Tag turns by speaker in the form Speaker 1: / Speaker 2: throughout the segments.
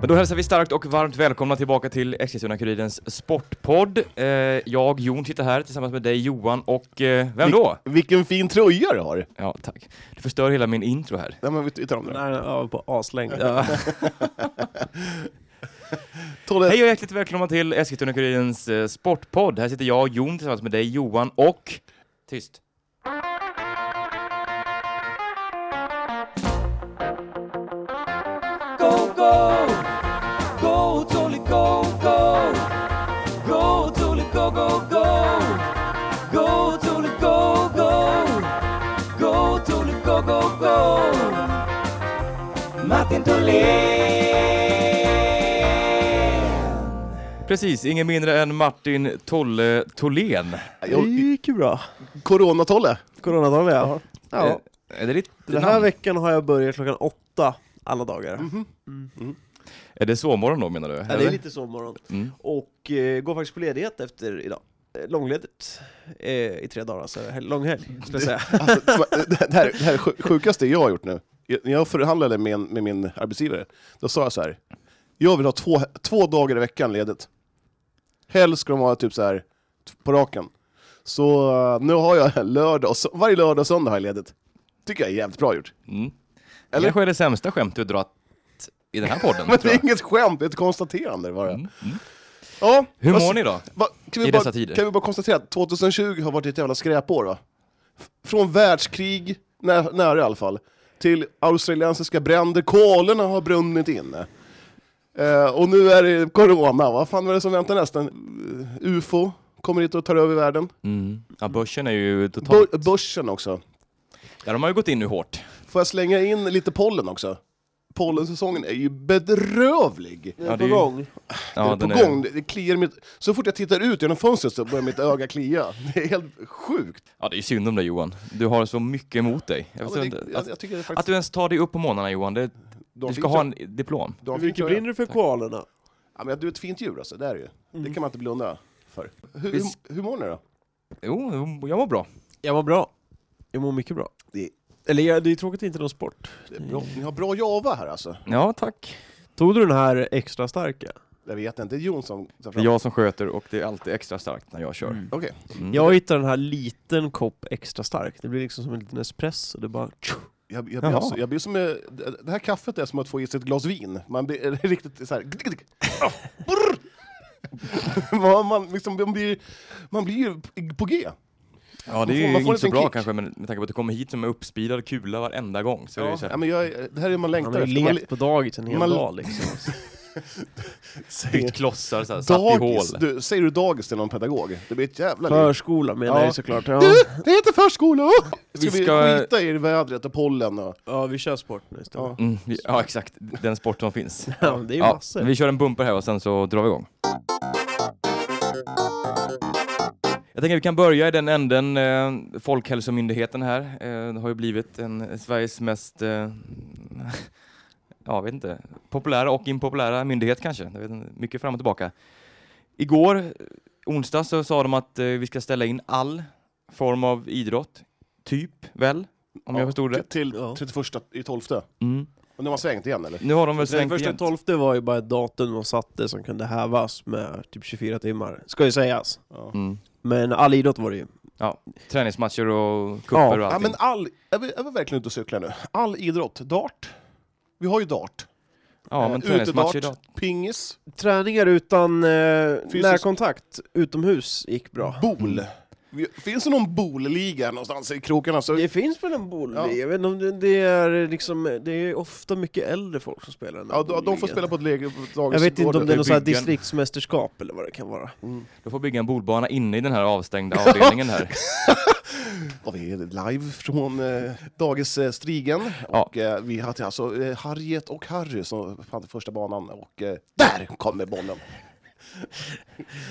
Speaker 1: Men då hälsar vi starkt och varmt välkomna tillbaka till Eskilstuna-Kurirens sportpodd. Eh, jag, Jon, sitter här tillsammans med dig, Johan, och eh, vem då?
Speaker 2: Vil- vilken fin tröja du har!
Speaker 1: Ja, tack. Du förstör hela min intro här.
Speaker 2: Nej men vi vi tar om det.
Speaker 3: Nej, ja, på aslänge. Ja.
Speaker 2: Tolle,
Speaker 1: Hej och hjärtligt välkomna till Eskilstuna-Kurirens eh, sportpodd. Här sitter jag, Jon, tillsammans med dig, Johan och... Tyst. Precis, ingen mindre än Martin Tolle Tolén.
Speaker 3: Det gick ju bra.
Speaker 2: Corona-Tolle!
Speaker 3: Coronadagen ja.
Speaker 1: Eh,
Speaker 3: ja.
Speaker 1: Är det ditt
Speaker 3: Den här
Speaker 1: namn?
Speaker 3: veckan har jag börjat klockan åtta alla dagar.
Speaker 2: mhm.
Speaker 1: Är det sovmorgon då, menar du?
Speaker 3: Ja, det är lite sovmorgon.
Speaker 1: Mm.
Speaker 3: Och eh, går faktiskt på ledighet efter idag. Eh, Långledigt eh, i tre dagar, så hel- lång helg skulle jag säga.
Speaker 2: Alltså, det här det här är sjuk- sjukaste jag har gjort nu. Jag- När jag förhandlade med, en, med min arbetsgivare, då sa jag så här. Jag vill ha två, två dagar i veckan ledigt. Helst ska de ha typ så här t- på raken. Så eh, nu har jag lördag och, sö- varje lördag och söndag har jag ledigt. Tycker jag är jävligt bra gjort.
Speaker 1: Mm.
Speaker 2: Eller?
Speaker 1: Kanske är det sämsta skämt du dragit i den här podden.
Speaker 2: Men det
Speaker 1: tror jag.
Speaker 2: är inget skämt, det är ett konstaterande bara.
Speaker 1: Mm, mm.
Speaker 2: Ja,
Speaker 1: Hur
Speaker 2: vad-
Speaker 1: mår ni då?
Speaker 2: Va, kan,
Speaker 1: I
Speaker 2: vi
Speaker 1: dessa
Speaker 2: bara,
Speaker 1: tider.
Speaker 2: kan vi bara konstatera att 2020 har varit ett jävla skräpår va? F- Från världskrig, nä, nära i alla fall, till australiensiska bränder, kolerna har brunnit inne. Eh, och nu är det corona, vad fan är det som väntar nästan? Eh, UFO kommer hit och tar över världen.
Speaker 1: Mm. Ja, börsen är ju totalt...
Speaker 2: Bör, börsen också.
Speaker 1: Ja, de har ju gått in nu hårt.
Speaker 2: Får jag slänga in lite pollen också? Pollensäsongen är ju bedrövlig.
Speaker 3: Den
Speaker 1: Ja,
Speaker 3: är
Speaker 1: det
Speaker 3: på
Speaker 1: är ju-
Speaker 3: gång.
Speaker 2: det
Speaker 1: Ja,
Speaker 2: är på
Speaker 1: den är-
Speaker 2: gång, det- det kliar mitt... Så fort jag tittar ut genom fönstret så börjar mitt öga klia. Det är helt sjukt.
Speaker 1: Ja, det är synd om dig Johan. Du har så mycket emot dig. Jag
Speaker 2: Ja,
Speaker 1: förstår
Speaker 2: men
Speaker 1: inte.
Speaker 2: det, jag,
Speaker 1: Att,
Speaker 2: jag tycker det är faktiskt...
Speaker 1: att du ens tar dig upp på morgnarna Johan, det,
Speaker 2: de
Speaker 1: du ska
Speaker 2: finns
Speaker 1: ha
Speaker 2: ju-
Speaker 1: en diplom.
Speaker 2: de
Speaker 3: Hur
Speaker 2: finns ju-
Speaker 3: mycket brinner du för koalorna?
Speaker 2: Ja, men du är ett fint djur alltså, det är det ju.
Speaker 3: Mm.
Speaker 2: Det kan man inte blunda för. Hur,
Speaker 1: Vi
Speaker 2: hur,
Speaker 1: s-
Speaker 2: hur mår ni då?
Speaker 1: Jo, jag mår bra.
Speaker 3: Jag mår bra. Jag mår mycket bra.
Speaker 2: Det-
Speaker 3: Eller ja, det är tråkigt att det inte är någon sport.
Speaker 2: Det är bra. Ni har bra java här alltså.
Speaker 1: Ja, tack.
Speaker 3: Tog du den här extra starka?
Speaker 2: Jag vet inte, det är Jon som tar
Speaker 1: Det
Speaker 2: fram.
Speaker 1: är jag som sköter och det är alltid extra starkt när jag kör.
Speaker 3: Mm.
Speaker 2: Okej.
Speaker 1: Mm.
Speaker 3: Jag hittade den här liten kopp extra stark. Det blir liksom som en liten espresso. Det bara...
Speaker 2: Jag, jag, blir
Speaker 1: Jaha.
Speaker 2: alltså, jag blir som... eh, Det det här kaffet är som att få i sig ett glas vin. Man blir eh, riktigt så här... gnick, gnick. Ah, brr. man, man, liksom, man, blir, man blir ju på G.
Speaker 1: Ja, det
Speaker 2: Man får-
Speaker 1: är ju
Speaker 2: man får
Speaker 1: inte
Speaker 2: en
Speaker 1: så
Speaker 2: liten
Speaker 1: bra
Speaker 2: kick.
Speaker 1: kanske, men med tanke på att du kommer hit som en uppspidad kula varenda gång. Så är det
Speaker 2: Ja,
Speaker 1: ju så här,
Speaker 2: men jag, det här är man
Speaker 3: Han
Speaker 2: längtar
Speaker 3: har ju
Speaker 2: efter. Man,
Speaker 3: lekt på dagis en hel
Speaker 2: man-
Speaker 3: dag liksom.
Speaker 2: säger,
Speaker 1: bytt klossar, så här, satt i hål.
Speaker 2: dagis, du, säger du dagis till någon pedagog? Det blir ett jävla liv.
Speaker 3: Förskola menar
Speaker 2: Ja.
Speaker 3: jag såklart. Ja.
Speaker 2: Du, det heter förskola! Ska vi,
Speaker 1: Vi ska-
Speaker 2: skita i vädret och pollen och...
Speaker 3: ja, vi kör sport nu istället.
Speaker 2: Ja.
Speaker 1: Mm, vi- ja, exakt. Den sport som finns.
Speaker 3: Ja. Det är ju
Speaker 1: Ja,
Speaker 3: massor.
Speaker 1: vi kör en bumper här och sen så drar vi igång. Jag tänker att vi kan börja i den änden. Eh, Folkhälsomyndigheten här eh, det har ju blivit en, Sveriges mest, eh, ja vet inte, populära och impopulära myndighet kanske. Jag vet inte, mycket fram och tillbaka. Igår, eh, onsdag, så sa de att eh, vi ska ställa in all form av idrott, typ väl, om jag
Speaker 2: Ja,
Speaker 1: förstod
Speaker 2: till-
Speaker 1: det.
Speaker 2: Till
Speaker 3: Ja.
Speaker 2: 31 i 12.
Speaker 1: Mm.
Speaker 2: Och nu har man svängt igen eller?
Speaker 1: Nu har de väl
Speaker 3: Den
Speaker 1: svängt
Speaker 3: första
Speaker 1: igen.
Speaker 3: tolfte var ju bara ett datum de satte som kunde hävas med typ 24 timmar, ska ju sägas.
Speaker 2: Ja.
Speaker 1: Mm.
Speaker 3: Men all idrott var det ju.
Speaker 1: Träningsmatcher och
Speaker 3: Ja,
Speaker 1: cuper och
Speaker 2: Ja,
Speaker 1: allting.
Speaker 2: men all, är, vi, är vi verkligen ute och cyklar nu? All idrott, dart. Vi har ju dart.
Speaker 1: Ja, men
Speaker 2: Eh,
Speaker 1: träningsmatcher idag.
Speaker 2: pingis,
Speaker 3: Träningar utan eh,
Speaker 2: Fysisk-
Speaker 3: närkontakt utomhus gick bra.
Speaker 2: bol.
Speaker 1: Mm.
Speaker 2: Vi- Finns det någon bolliga någonstans i krokarna? Så...
Speaker 3: Det finns väl en boll?
Speaker 2: Ja.
Speaker 3: Jag vet inte om det, det är liksom, det är ofta mycket äldre folk som spelar den här
Speaker 2: Ja, de, de får
Speaker 3: bowlingen.
Speaker 2: spela på ett läge på ett
Speaker 3: Jag vet inte om det är
Speaker 1: i
Speaker 3: något sånt här
Speaker 1: byggen.
Speaker 3: distriktsmästerskap eller vad det kan vara.
Speaker 1: Du får bygga en bordbana inne i den här avstängda avdelningen här.
Speaker 2: Och vi är live från eh, Dagens eh, Strigen.
Speaker 1: Ja.
Speaker 2: Och, eh, vi hade alltså eh, Harriet och Harry som hade första banan. Och eh, där kommer bollen!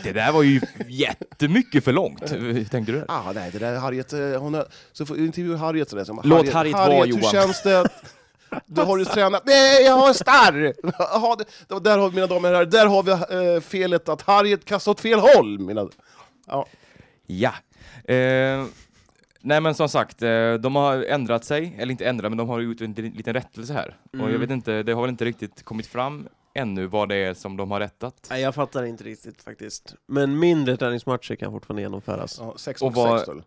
Speaker 1: Det där var ju jättemycket för långt. Hur tänkte du?
Speaker 2: Ah, nej, det där är Harriet, eh, hon har, så får intervjua Harriet sådär. Som,
Speaker 1: Låt Harriet vara,
Speaker 2: Harriet, hur
Speaker 1: Johan."
Speaker 2: känns det? Du har du tränat? Nej, jag har en starr! Jaha, det, det- där har vi, mina damer och herrar, där har vi eh, felet att Harriet kastar åt fel håll! Mina, ja,
Speaker 1: Ja. Eh, nej men som sagt, eh, de har ändrat sig, eller inte ändrat, men de har gjort en liten rättelse här. Och jag
Speaker 3: Mm.
Speaker 1: vet inte, det har väl inte riktigt kommit fram ännu vad det är som de har rättat.
Speaker 3: Nej, jag fattar inte riktigt faktiskt. Men mindre träningsmatcher kan fortfarande genomföras.
Speaker 2: Ja, sex
Speaker 1: Och
Speaker 2: mot
Speaker 1: vad-
Speaker 2: sex då.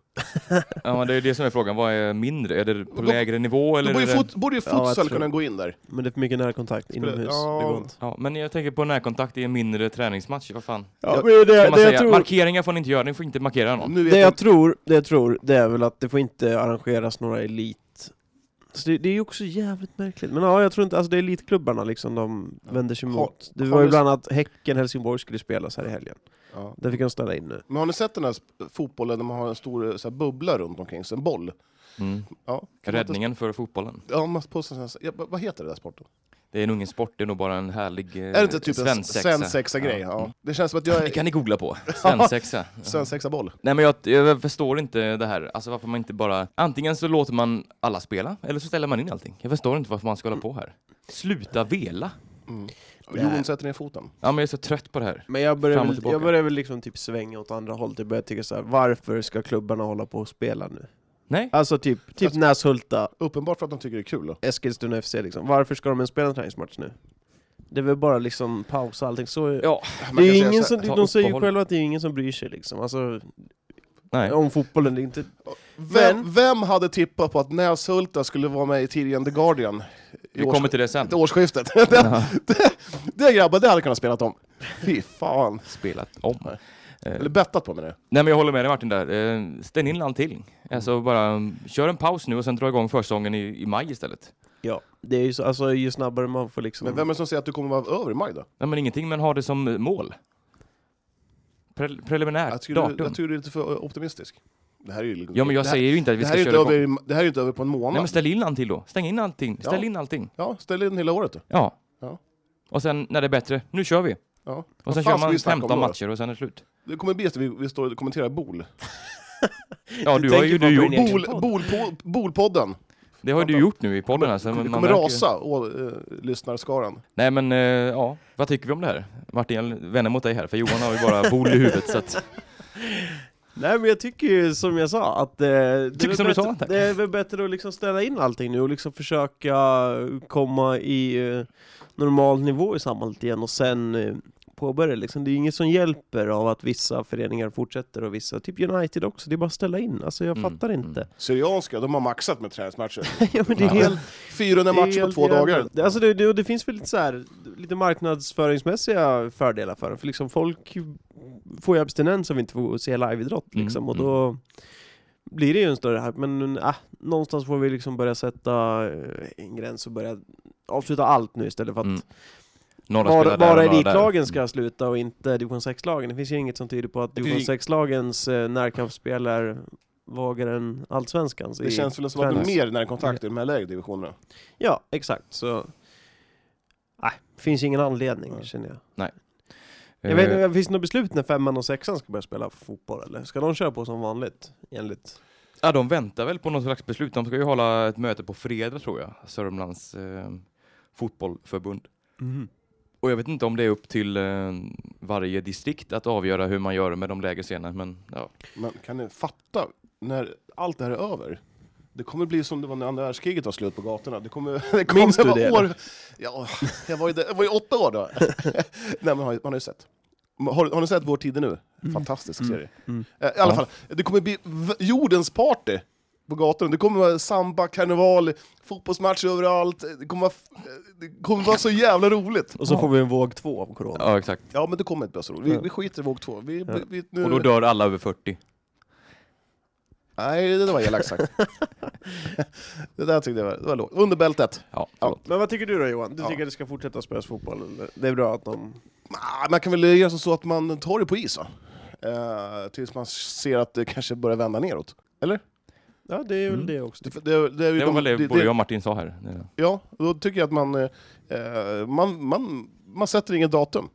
Speaker 1: Ja, det är det som är frågan, vad är mindre? Är det på
Speaker 2: Då-
Speaker 1: lägre nivå? Eller
Speaker 2: Då
Speaker 1: är
Speaker 2: borde ju,
Speaker 1: det...
Speaker 2: fot, borde ju
Speaker 3: Ja, jag
Speaker 2: futsal
Speaker 3: tror-
Speaker 2: kunna gå in där.
Speaker 3: Men det är för mycket närkontakt
Speaker 2: Spela-
Speaker 3: inomhus.
Speaker 2: Ja.
Speaker 3: Det går inte.
Speaker 1: ja, men jag tänker på närkontakt i en mindre träningsmatch, vad fan.
Speaker 3: Ja, men
Speaker 1: Ska
Speaker 3: det,
Speaker 1: man
Speaker 3: det, jag
Speaker 1: säga,
Speaker 3: tror,
Speaker 1: markeringar får ni inte göra, ni får inte markera någon.
Speaker 2: Nu vet
Speaker 3: det
Speaker 2: jag...
Speaker 3: jag tror, det jag tror, det är väl att det får inte arrangeras några elit... Så det, det är ju också jävligt märkligt. Men ja, jag tror inte, alltså det är elitklubbarna liksom de vänder sig
Speaker 2: Har-
Speaker 3: mot. Det
Speaker 2: har
Speaker 3: var ju
Speaker 2: ni-
Speaker 3: bland annat Häcken-Helsingborg skulle spelas här i helgen.
Speaker 2: Ja.
Speaker 3: Där fick de ställa in nu.
Speaker 2: Men har ni sett den här sp- fotbollen där man har en stor eh, så här, bubbla runt omkring sig? En boll?
Speaker 1: Mm.
Speaker 2: Ja, kan man inte-
Speaker 1: Räddningen för fotbollen.
Speaker 2: Ja, man på sån här, ja, vad vad heter det där sporten?
Speaker 1: Det är nog ingen sport, det är nog bara en härlig eh,
Speaker 2: är det inte typ en
Speaker 1: svensexa.
Speaker 2: svensexa-grej? Ja. Det känns som att jag
Speaker 1: Det
Speaker 2: är
Speaker 1: kan ni googla på, svensexa.
Speaker 2: svensexa-boll.
Speaker 1: Nej men jag, jag förstår inte det här, alltså varför man inte bara... Antingen så låter man alla spela, eller så ställer man in allting. Jag förstår inte varför man ska hålla på här. Sluta vela!
Speaker 2: Mm.
Speaker 3: Nej.
Speaker 2: Jon sätter ner foten.
Speaker 1: Ja men jag är så trött på det här.
Speaker 3: Men jag börjar,
Speaker 1: Fram och
Speaker 3: väl,
Speaker 1: tillbaka.
Speaker 3: jag börjar väl liksom typ svänga åt andra hållet. Jag börjar tycka så här: varför ska klubbarna hålla på och spela nu?
Speaker 1: Nej,
Speaker 3: Alltså typ, typ
Speaker 2: Alltså-
Speaker 3: Näshulta,
Speaker 2: Uppenbart för att de tycker det är kul. Då.
Speaker 3: Eskilstuna FC liksom. Varför ska de ens spela en träningsmatch nu? Det är väl bara liksom pausa allting. Så,
Speaker 1: ja,
Speaker 2: Man kan
Speaker 3: det är
Speaker 2: säga
Speaker 3: ingen
Speaker 2: så
Speaker 3: som,
Speaker 2: här,
Speaker 1: ta
Speaker 3: de säger ju
Speaker 1: uppehåll.
Speaker 3: själva att det är ingen som bryr sig liksom. Alltså,
Speaker 1: nej.
Speaker 3: om fotbollen, det är inte...
Speaker 2: Vem, vem hade tippat på att Näshulta skulle vara med i tidningen The Guardian? I
Speaker 1: Vi
Speaker 2: års-
Speaker 1: kommer till det sen.
Speaker 2: till årsskiftet. det, det grabbar, det hade jag kunnat spela om. Fy fan.
Speaker 1: Spelat om. Eh,
Speaker 2: Eller bettat på mig nu.
Speaker 1: Nej men jag håller med dig Martin där. Eh, Ställ in allting. Alltså bara mm, kör en paus nu och sen dra igång försäsongen i, i maj istället.
Speaker 3: Ja, det är ju så, alltså ju snabbare man får liksom...
Speaker 2: Men
Speaker 1: Mm.
Speaker 2: vem är det som säger att du kommer vara över i maj då?
Speaker 1: Nej men ingenting, men ha det som eh, mål. Pre-
Speaker 2: Jag
Speaker 1: preliminärt
Speaker 2: tycker, du,
Speaker 1: datum.
Speaker 2: jag tycker du är lite för optimistisk. Det här är ju...
Speaker 1: Ja men jag
Speaker 2: det här,
Speaker 1: säger ju inte att vi
Speaker 2: det här är
Speaker 1: ska
Speaker 2: ju inte
Speaker 1: köra
Speaker 2: över,
Speaker 1: igång.
Speaker 2: i- det här är ju inte över på en månad.
Speaker 1: Nej men ställ in allting då. Stäng in allting. Ställ
Speaker 2: Ja.
Speaker 1: in allting.
Speaker 2: Ja, ställ in hela året. då.
Speaker 1: Ja.
Speaker 2: Ja.
Speaker 1: Och sen när det är bättre, nu kör vi.
Speaker 2: Ja.
Speaker 1: Och
Speaker 2: Vad
Speaker 1: sen
Speaker 2: fan
Speaker 1: kör
Speaker 2: ska
Speaker 1: man
Speaker 2: vi snacka om
Speaker 1: 15
Speaker 2: då?
Speaker 1: matcher och sen är det slut.
Speaker 2: Det kommer bli att vi, vi står och kommenterar BOL.
Speaker 1: Ja du har
Speaker 3: tänker
Speaker 1: ju
Speaker 3: bara
Speaker 1: du
Speaker 3: på
Speaker 1: gjort.
Speaker 3: din egen
Speaker 2: BOL,
Speaker 3: podd.
Speaker 2: bol, BOL-podden.
Speaker 1: Det har ju du gjort nu i podden här. Så
Speaker 2: Det
Speaker 1: man
Speaker 2: kommer
Speaker 1: märker ju-
Speaker 2: rasa, å, eh, lyssnarskaran.
Speaker 1: Nej men eh, ja, vad tycker vi om det här? Martin, jag vänder mot dig här för Johan har ju bara bol i huvudet så att...
Speaker 3: Nej men jag tycker ju som jag sa att eh, det, är väl
Speaker 1: som du sa,
Speaker 3: bättre,
Speaker 1: tack.
Speaker 3: det är väl bättre att liksom ställa in allting nu och liksom försöka komma i eh, normal nivå i samhället igen och sen eh, påbörja liksom. Det är ju inget som hjälper av att vissa föreningar fortsätter och vissa, typ United också, det är bara att ställa in. Alltså jag
Speaker 1: Mm,
Speaker 3: fattar
Speaker 1: mm.
Speaker 3: inte.
Speaker 2: Syrianska, de har maxat med träningsmatcher.
Speaker 3: ja, men det är
Speaker 1: Ja.
Speaker 3: helt,
Speaker 2: 400
Speaker 3: det är
Speaker 2: matcher på
Speaker 3: helt
Speaker 2: två
Speaker 3: jävla-
Speaker 2: dagar.
Speaker 3: Det- Alltså det, det, och det finns väl lite, så här, lite marknadsföringsmässiga fördelar för dem, för liksom folk får ju abstinens om vi inte får se liveidrott
Speaker 1: Mm,
Speaker 3: liksom, och
Speaker 1: mm.
Speaker 3: då blir det ju en större hype, men äh, någonstans får vi liksom börja sätta eh, en gräns och börja avsluta allt nu istället för att
Speaker 1: Mm. Några
Speaker 3: bara,
Speaker 1: spelar där och
Speaker 3: bara
Speaker 1: några där.
Speaker 3: elitlagen ska sluta och inte division 6-lagen. Det finns ju inget som tyder på att
Speaker 2: finns
Speaker 3: division
Speaker 2: ju-
Speaker 3: 6-lagens eh, närkampsspel är vagare än allsvenskans.
Speaker 2: Det
Speaker 3: i
Speaker 2: känns väl som att det är
Speaker 3: träning.
Speaker 2: mer närkontakt i de här lägre divisionerna.
Speaker 3: Ja, exakt. Så... Nej, finns ingen anledning
Speaker 2: Nej.
Speaker 3: känner jag.
Speaker 1: Eh,
Speaker 3: Jag vet inte, finns det något beslut när femman och sexan ska börja spela fotboll eller? Ska de köra på som vanligt? Enligt...
Speaker 1: Ja, de väntar väl på något slags beslut. De ska ju hålla ett möte på fredag tror jag, Sörmlands eh, fotbollförbund.
Speaker 3: Mhm.
Speaker 1: Och jag vet inte om det är upp till eh, varje distrikt att avgöra hur man gör med de lägre scenerna, men ja.
Speaker 2: Men kan ni fatta, när allt det här är över, det kommer bli som det var när andra världskriget var slut på gatorna. Det kommer, det kommer
Speaker 3: Minns du
Speaker 2: vara
Speaker 3: det,
Speaker 2: År, ja, jag var ju, där, jag var ju åtta år då. Nej, men man har, ju- man har ju sett. Har, har ni sett Vår tid är nu? Fantastisk serie.
Speaker 3: Mm.
Speaker 2: Eh, I alla
Speaker 1: Ja.
Speaker 2: fall, det kommer bli v- jordens party på gatorna. Det kommer vara samba, karneval, fotbollsmatcher överallt. Det kommer vara, f- eh, det kommer vara så jävla roligt.
Speaker 3: Och så får vi en våg två av corona.
Speaker 1: ja, exakt.
Speaker 2: Ja, men det kommer inte bli så roligt. Vi, vi skiter i våg två. Vi, vi, vi, nu...
Speaker 1: Och då dör alla över 40.
Speaker 2: Nej, det där var elakt sagt. det där tyckte jag var, det var lågt. Under bältet.
Speaker 1: Ja,
Speaker 2: Ja.
Speaker 1: förlåt.
Speaker 3: Men vad tycker du då Johan? Du
Speaker 2: Ja.
Speaker 3: tycker att det ska fortsätta spelas fotboll? Eller? Det är bra att de...
Speaker 2: Ah, Man kan väl göra så att man tar det på is då. Eh, tills man ser att det kanske börjar vända neråt. Eller?
Speaker 3: Ja, det är väl
Speaker 1: Mm.
Speaker 3: det också.
Speaker 2: Det, det, det, är ju
Speaker 1: det var
Speaker 2: de-
Speaker 1: väl det,
Speaker 2: det-
Speaker 1: både
Speaker 2: det-
Speaker 1: jag och Martin sa här. Det-
Speaker 2: Ja, då tycker jag att man, eh, man, man, man sätter inget datum.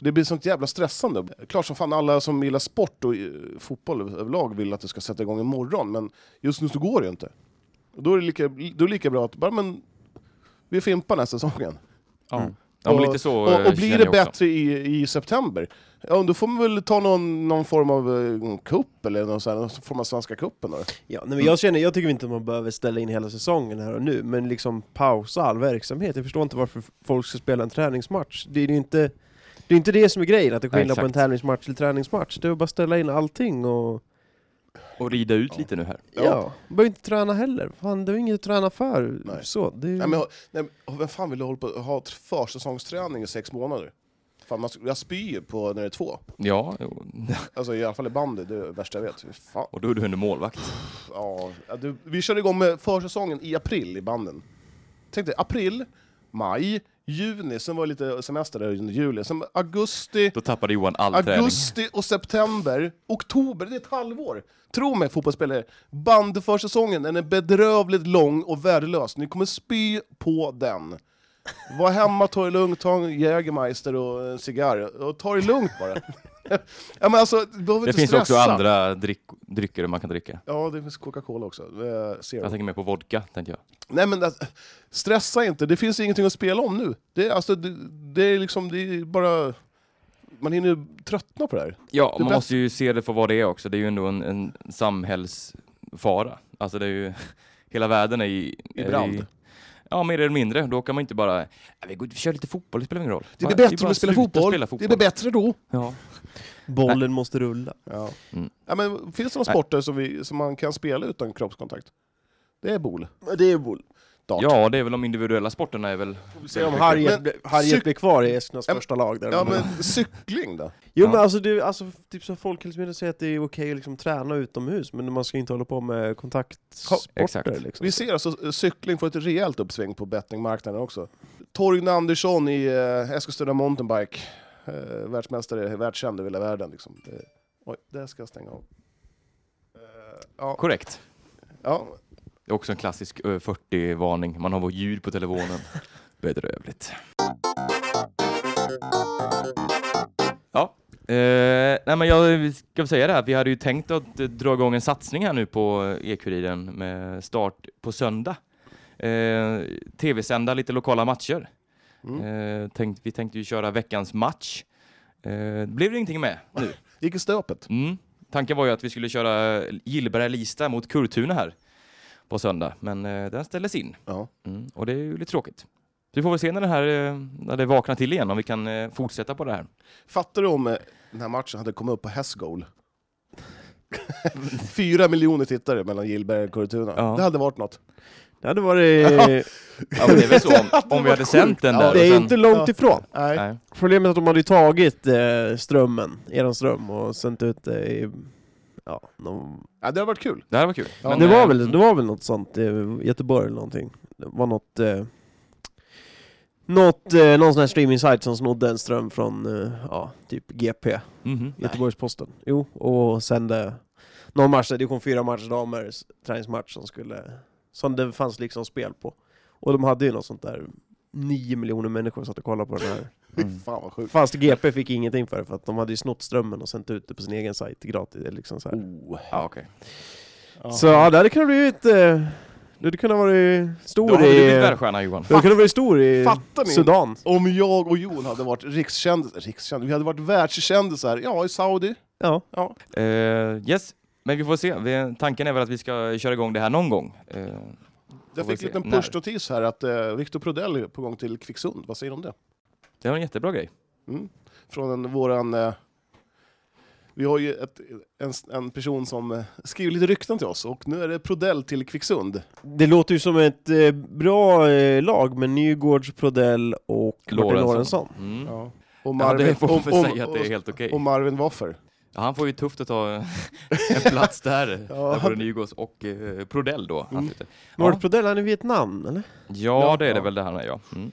Speaker 2: Det blir sånt jävla stressande. Klart som fan alla som gillar sport och eh, fotboll överlag vill att det ska sätta igång imorgon, men just nu så går det ju inte. Och Då är det lika, då är det lika bra att bara, men, vi fimpar nästa säsongen.
Speaker 1: Ja.
Speaker 3: Mm.
Speaker 1: Ja, men lite så
Speaker 2: Och,
Speaker 1: eh,
Speaker 2: och blir
Speaker 1: känner
Speaker 2: det
Speaker 1: jag också.
Speaker 2: bättre i, i september, ja, då får man väl ta någon, någon form av eh, cup eller någon, så här, någon form av Svenska cupen då.
Speaker 3: Ja, nej,
Speaker 2: Mm.
Speaker 3: men jag, känner, jag tycker inte att man behöver ställa in hela säsongen här och nu, men liksom pausa all verksamhet. Jag förstår inte varför f- folk ska spela en träningsmatch. Det är ju inte det, är inte det som är grejen, att det är
Speaker 1: Nej,
Speaker 3: skillnad på en
Speaker 1: exakt.
Speaker 3: tävlingsmatch till träningsmatch. Det är att bara ställa in allting och...
Speaker 1: Och rida ut
Speaker 2: Ja.
Speaker 1: lite nu här.
Speaker 3: Ja,
Speaker 2: Ja.
Speaker 3: behöver inte träna heller. Fan, det är ju inget att träna för.
Speaker 2: Nej.
Speaker 3: Så, det är...
Speaker 2: Nej, men, nej, men vem fan vill hålla på ha ett försäsongsträning i sex månader? Fan, man, jag spyr ju på när det är två.
Speaker 1: Ja, jo.
Speaker 2: Alltså i alla fall i bandy, det är det värsta jag vet. Fy Fan.
Speaker 1: och då är du under målvakt.
Speaker 2: Ja, ja, du, vi körde igång med försäsongen i april i banden. Tänk dig, april, maj, juni, sen var det lite semester där under juli, sen augusti,
Speaker 1: Då tappade Johan all träning.
Speaker 2: augusti och september, oktober, det är ett halvår! Tro mig fotbollsspelare, bandförsäsongen den är bedrövligt lång och värdelös, ni kommer spy på den. Var hemma, ta det lugnt, ta en Jägermeister och en cigarr, och ta det lugnt bara. ja, men alltså, du behöver
Speaker 1: Det
Speaker 2: inte
Speaker 1: finns
Speaker 2: stressa.
Speaker 1: också andra dryck, drycker man kan dricka.
Speaker 2: Ja, det finns Coca-Cola också. Eh, Zero.
Speaker 1: Jag tänker mer på vodka, tänker jag.
Speaker 2: Nej men alltså, stressa inte, det finns ingenting att spela om nu. Det, är- alltså, det, det är liksom, det är bara... Man hinner ju tröttna på det här.
Speaker 1: Ja,
Speaker 2: Det
Speaker 1: man
Speaker 2: bäst-
Speaker 1: måste ju se det för vad det är också. Det är ju ändå en, en samhällsfara. Alltså det är ju, hela världen är i...
Speaker 2: I
Speaker 1: är
Speaker 2: brand.
Speaker 1: ja, mer eller mindre. Då kan man inte bara, "Ja, vi går ut och kör lite fotboll, det spelar ingen roll.
Speaker 2: Det
Speaker 1: Bara-
Speaker 2: blir
Speaker 1: är
Speaker 2: bättre
Speaker 1: bara
Speaker 2: om du spelar
Speaker 1: sluta
Speaker 2: fotboll.
Speaker 1: spela
Speaker 2: det blir bättre då.
Speaker 1: Ja.
Speaker 3: Bollen måste rulla.
Speaker 2: Ja.
Speaker 1: Mm.
Speaker 2: Ja, men, finns det några
Speaker 1: Nej.
Speaker 2: sporter som, vi, som man kan spela utan kroppskontakt? Det är bol.
Speaker 3: Det är boll.
Speaker 2: Dart.
Speaker 1: ja, det är väl de individuella sporterna är väl...
Speaker 3: Se om Harriet,
Speaker 2: Men-
Speaker 3: blir- Harriet
Speaker 2: cyk-
Speaker 3: blir kvar i Eskilstunas
Speaker 2: Ja,
Speaker 3: första lag. Där
Speaker 2: Ja, men cykling då?
Speaker 3: Jo
Speaker 1: Ja.
Speaker 3: men alltså, det, alltså typ som Folkhälsomyndigheten säger att det är okej att liksom träna utomhus, men man ska inte hålla på med kontaktsporter
Speaker 1: Exakt.
Speaker 3: liksom.
Speaker 2: Vi ser alltså eh, cykling får ett rejält uppsving på bettingmarknaden också. Torgny Andersson i eh, Eskilstuna Mountainbike, eh, världsmästare, världskänd över hela världen. Liksom. Det, oj, där ska jag stänga av. Eh, ja,
Speaker 1: Korrekt.
Speaker 2: ja,
Speaker 1: Det är också en klassisk ö, 40-varning. Man har vårt ljud på telefonen. Bedrövligt. Ja, eh, nej men jag ska väl säga det här. Vi hade ju tänkt att eh, dra igång en satsning här nu på eh, E-Kuriren med start på söndag. Eh, Tv-sända lite lokala matcher.
Speaker 2: mm.
Speaker 1: Eh, tänkt, vi tänkte ju köra veckans match. Eh, det blev det ingenting med nu.
Speaker 2: Gick i stöpet.
Speaker 1: Mm. Tanken var ju att vi skulle köra Gillberga-Lista mot Kurtuna här på söndag, men eh, den ställdes in.
Speaker 2: Ja.
Speaker 1: Mm. Och det är ju lite tråkigt. Så Vi får väl se när det här eh, när det vaknar till igen, om vi kan eh, fortsätta på det här.
Speaker 2: Fattar du om eh, den här matchen hade kommit upp på Hästgol? Fyra miljoner tittare mellan Gillberg och Kurtuna.
Speaker 1: Ja.
Speaker 2: Det hade varit något.
Speaker 3: Det hade varit...
Speaker 1: Ja, men det är väl så om, om vi hade sänt den
Speaker 2: Ja,
Speaker 1: där. och
Speaker 3: det är ju
Speaker 1: sen-
Speaker 3: inte långt
Speaker 2: Ja.
Speaker 3: ifrån.
Speaker 2: Nej.
Speaker 1: Nej.
Speaker 3: Problemet är att de hade ju tagit eh, strömmen, eran ström, och sänt ut det i... Ja, de,
Speaker 2: Ja, det hade varit kul.
Speaker 1: Det här var kul.
Speaker 2: Ja,
Speaker 1: Men,
Speaker 3: det,
Speaker 1: eh,
Speaker 3: var väl, det var väl något sånt, eh, Göteborg eller någonting. Det var något... Eh, något, eh, någon sån här streaming-sajt som snodde en ström från, eh, ja, typ GP.
Speaker 1: mhm.
Speaker 3: Mm-hmm. Göteborgs-Posten. Jo, och sen det, någon match, där, division 4 match, damers träningsmatch som skulle, som det fanns liksom spel på. Och de hade ju något sånt där, 9 miljoner människor satt och kollade på den här.
Speaker 1: Mm.
Speaker 2: Fan vad sjukt.
Speaker 3: Fast GP fick ingenting för det, för att de hade ju snott strömmen och sänt ut det på sin egen sajt gratis. eller Liksom så här.
Speaker 2: Oh.
Speaker 1: Ja, okej.
Speaker 3: Så ja, det hade kunnat blivit, eh, du hade kunnat vara
Speaker 1: Då
Speaker 3: stor
Speaker 1: har du
Speaker 3: i...
Speaker 1: blivit
Speaker 3: Du
Speaker 1: världsstjärna Johan.
Speaker 3: hade kunnat vara stor i
Speaker 2: Fattar ni?
Speaker 3: Sudan.
Speaker 2: Om jag och Jon hade varit rikskändisar, rikskändis, vi hade varit världskändisar, ja i Saudi.
Speaker 3: Ja.
Speaker 2: Ja.
Speaker 1: Eh, yes, men vi får se. Vi, tanken är väl att vi ska köra igång det här någon gång. Eh,
Speaker 2: Jag
Speaker 1: Får vi
Speaker 2: fick
Speaker 1: se.
Speaker 2: en liten
Speaker 1: När?
Speaker 2: pushnotis här att eh, Victor Prodell är på gång till Kvicksund, vad säger du om det?
Speaker 1: det var en jättebra grej.
Speaker 2: Mm. Från en, våran... Eh, vi har ju ett, en, en person som eh, skriver lite rykten till oss och nu är det Prodell till Kvicksund.
Speaker 3: Det låter ju som ett eh, bra eh, lag med Nygårds, Prodell och Martin
Speaker 1: Lorentzon.
Speaker 3: Lorentzon.
Speaker 1: Mm. Ja,
Speaker 2: Ja. Och
Speaker 1: det får man väl
Speaker 2: om-
Speaker 1: säga att det är
Speaker 2: och-
Speaker 1: helt okej.
Speaker 2: och Marvin Waffer.
Speaker 1: Ja, han får ju tufft att ta en plats där,
Speaker 2: Ja,
Speaker 1: där både
Speaker 2: han-
Speaker 1: Nygårds och eh, Prodell då.
Speaker 2: Mm.
Speaker 1: antyder.
Speaker 3: Nord
Speaker 1: Ja.
Speaker 3: Prodell, han är i Vietnam eller?
Speaker 1: Ja, det är det
Speaker 2: Ja.
Speaker 1: väl det han är, ja. Mm.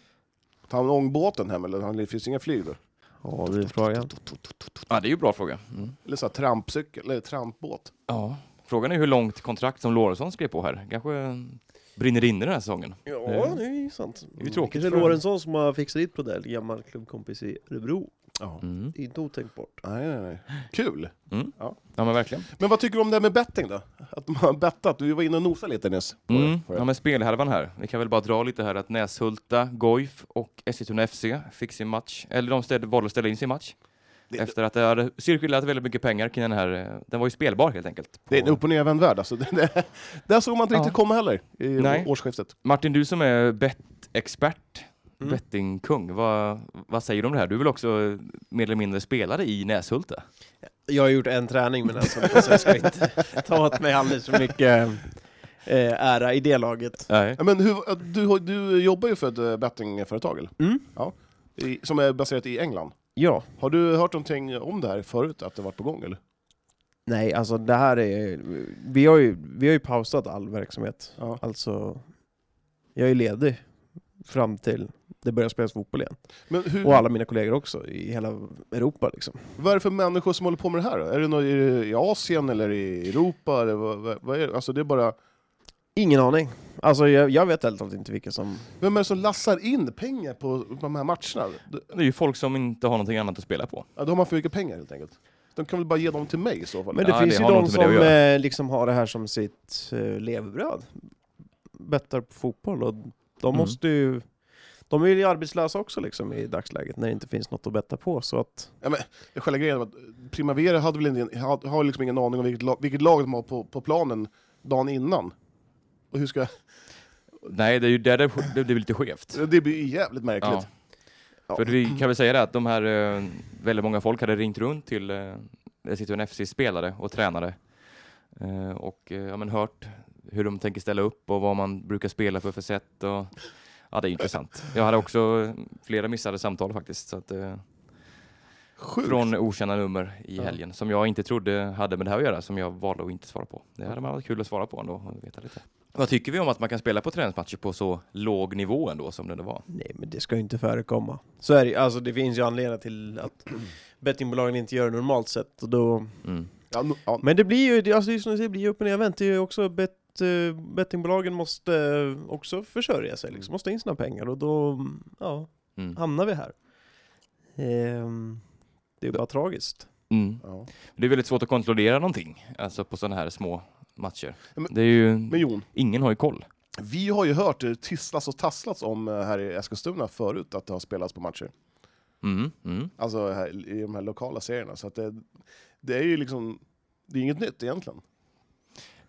Speaker 2: Tar han ångbåten hem eller? Han- Det finns inga flyg då?
Speaker 3: Ja, det är frågan.
Speaker 1: Ja, det är ju en bra fråga. Mm.
Speaker 2: Eller så här trampcykel, eller trampbåt.
Speaker 1: Ja. Frågan är hur långt kontrakt som Lorentzon skrev på här. Kanske eh, brinner inne den här säsongen.
Speaker 3: Ja,
Speaker 1: Mm.
Speaker 3: det är ju sant. Det
Speaker 1: tråkigt
Speaker 3: Kanske
Speaker 1: för-
Speaker 3: Lorentzon som har fixat dit Prodell, gammal klubbkompis i Örebro.
Speaker 2: Ja.
Speaker 1: Mm.
Speaker 3: Det är inte otänkbart.
Speaker 2: Nej, nej, nej. Kul!
Speaker 1: Ja men verkligen.
Speaker 2: Men vad tycker du om det här med betting då? Att man har bettat, du var inne och nosade lite nyss. på
Speaker 1: Mm.
Speaker 2: det.
Speaker 1: Ja men spelhärvan här. Vi kan väl bara dra lite här att Näshulta, Goif och Eskilstuna FC fick sin match, eller de ställde, valde att ställa in sin match.
Speaker 2: Det-
Speaker 1: Efter att det hade cirkulerat väldigt mycket pengar kring den här, eh, den var ju spelbar helt enkelt.
Speaker 2: Det är en
Speaker 1: på-
Speaker 2: upp och nervänd värld alltså. Det, det, där såg man inte riktigt
Speaker 1: Ja.
Speaker 2: komma heller i
Speaker 1: Nej.
Speaker 2: årsskiftet.
Speaker 1: Martin, du som är bettexpert,
Speaker 3: Mm.
Speaker 1: bettingkung, vad, vad säger du om det här? Du är väl också eh, mer eller mindre spelare i Näshulta?
Speaker 3: Jag har gjort en träning men alltså, jag ska inte ta åt mig alldeles för mycket eh, ära i det laget.
Speaker 1: Nej.
Speaker 2: Ja, Men hur, du, har- du jobbar ju för ett eh, bettingföretag eller?
Speaker 3: Mm.
Speaker 2: I, som är baserat i England.
Speaker 3: Ja.
Speaker 2: Har du hört någonting om det här förut, att det varit på gång eller?
Speaker 3: Nej, alltså det här är... Vi har ju, vi har ju pausat all verksamhet.
Speaker 2: Ja.
Speaker 3: Alltså, jag är ledig fram till det börjar spelas fotboll igen.
Speaker 2: Men hur,
Speaker 3: Och alla mina kollegor också, i hela Europa liksom.
Speaker 2: vad är det för människor som håller på med det här då? Är det, någon, är det i Asien eller i Europa? Eller vad, vad, vad är det? Alltså det är bara...
Speaker 3: Ingen aning. Alltså jag, jag vet helt enkelt inte vilka som...
Speaker 2: Vem är det som lassar in pengar på, på de här matcherna?
Speaker 1: Det är ju folk som inte har någonting annat att spela på.
Speaker 2: Ja, då har man för mycket pengar helt enkelt. De kan väl bara ge dem till mig i så fall?
Speaker 3: Men det
Speaker 1: Ja,
Speaker 3: finns
Speaker 1: det
Speaker 3: ju
Speaker 1: har nog
Speaker 3: de
Speaker 1: inte med det
Speaker 3: som
Speaker 1: att
Speaker 3: eh, liksom har det här som sitt eh, levebröd. Bettar på fotboll och de
Speaker 1: Mm.
Speaker 3: måste ju... De är ju arbetslösa också liksom i dagsläget när det inte finns något att betta på så att...
Speaker 2: Ja, men, själva grejen var att Primavera hade väl ingen, hade, har liksom ingen aning om vilket lag, vilket lag de har på, på planen dagen innan. Och hur ska,
Speaker 1: Nej, det är ju där det, det blir lite skevt.
Speaker 2: det blir ju jävligt märkligt.
Speaker 1: Ja.
Speaker 3: Ja.
Speaker 1: För vi kan väl säga det att de här, eh, väldigt många folk hade ringt runt till eh, Eskilstuna FC-spelare och tränare eh, och eh, ja, men hört hur de tänker ställa upp och vad man brukar spela för för sätt. Och, ja, det är intressant. Jag hade också flera missade samtal faktiskt. Så att, eh,
Speaker 2: Sjukt.
Speaker 1: från okända nummer i
Speaker 2: Ja.
Speaker 1: helgen som jag inte trodde hade med det här att göra som jag valde att inte svara på. Det hade varit kul att svara på ändå och veta lite. Vad tycker vi om att man kan spela på träningsmatcher på så låg nivå ändå som det nu var?
Speaker 3: Nej men det ska ju inte förekomma. Så är det ju. Alltså det finns ju anledningar till att bettingbolagen inte gör det normalt sett. Och då...
Speaker 1: Mm.
Speaker 2: Ja, nu- ja,
Speaker 3: Men det blir ju, det- alltså det är som du säger, det blir ju upp och nervänt. Det är ju också bet, eh, bettingbolagen måste eh, också försörja sig liksom, måste ha in sina pengar och då, mm, ja,
Speaker 1: Mm.
Speaker 3: hamnar vi här. Ehm, det är bara tragiskt.
Speaker 1: Mm.
Speaker 2: ja.
Speaker 1: Det är väldigt svårt att kontrollera någonting, alltså på sådana här små matcher.
Speaker 2: Ja, men-
Speaker 1: det är ju,
Speaker 2: Men Jon,
Speaker 1: ingen har ju koll.
Speaker 2: vi har ju hört det tisslas och tasslats om eh, här i Eskilstuna förut att det har spelats på matcher.
Speaker 1: Mm, mm.
Speaker 2: Alltså här, i de här lokala serierna. Så att det, det är ju liksom, det är inget nytt egentligen.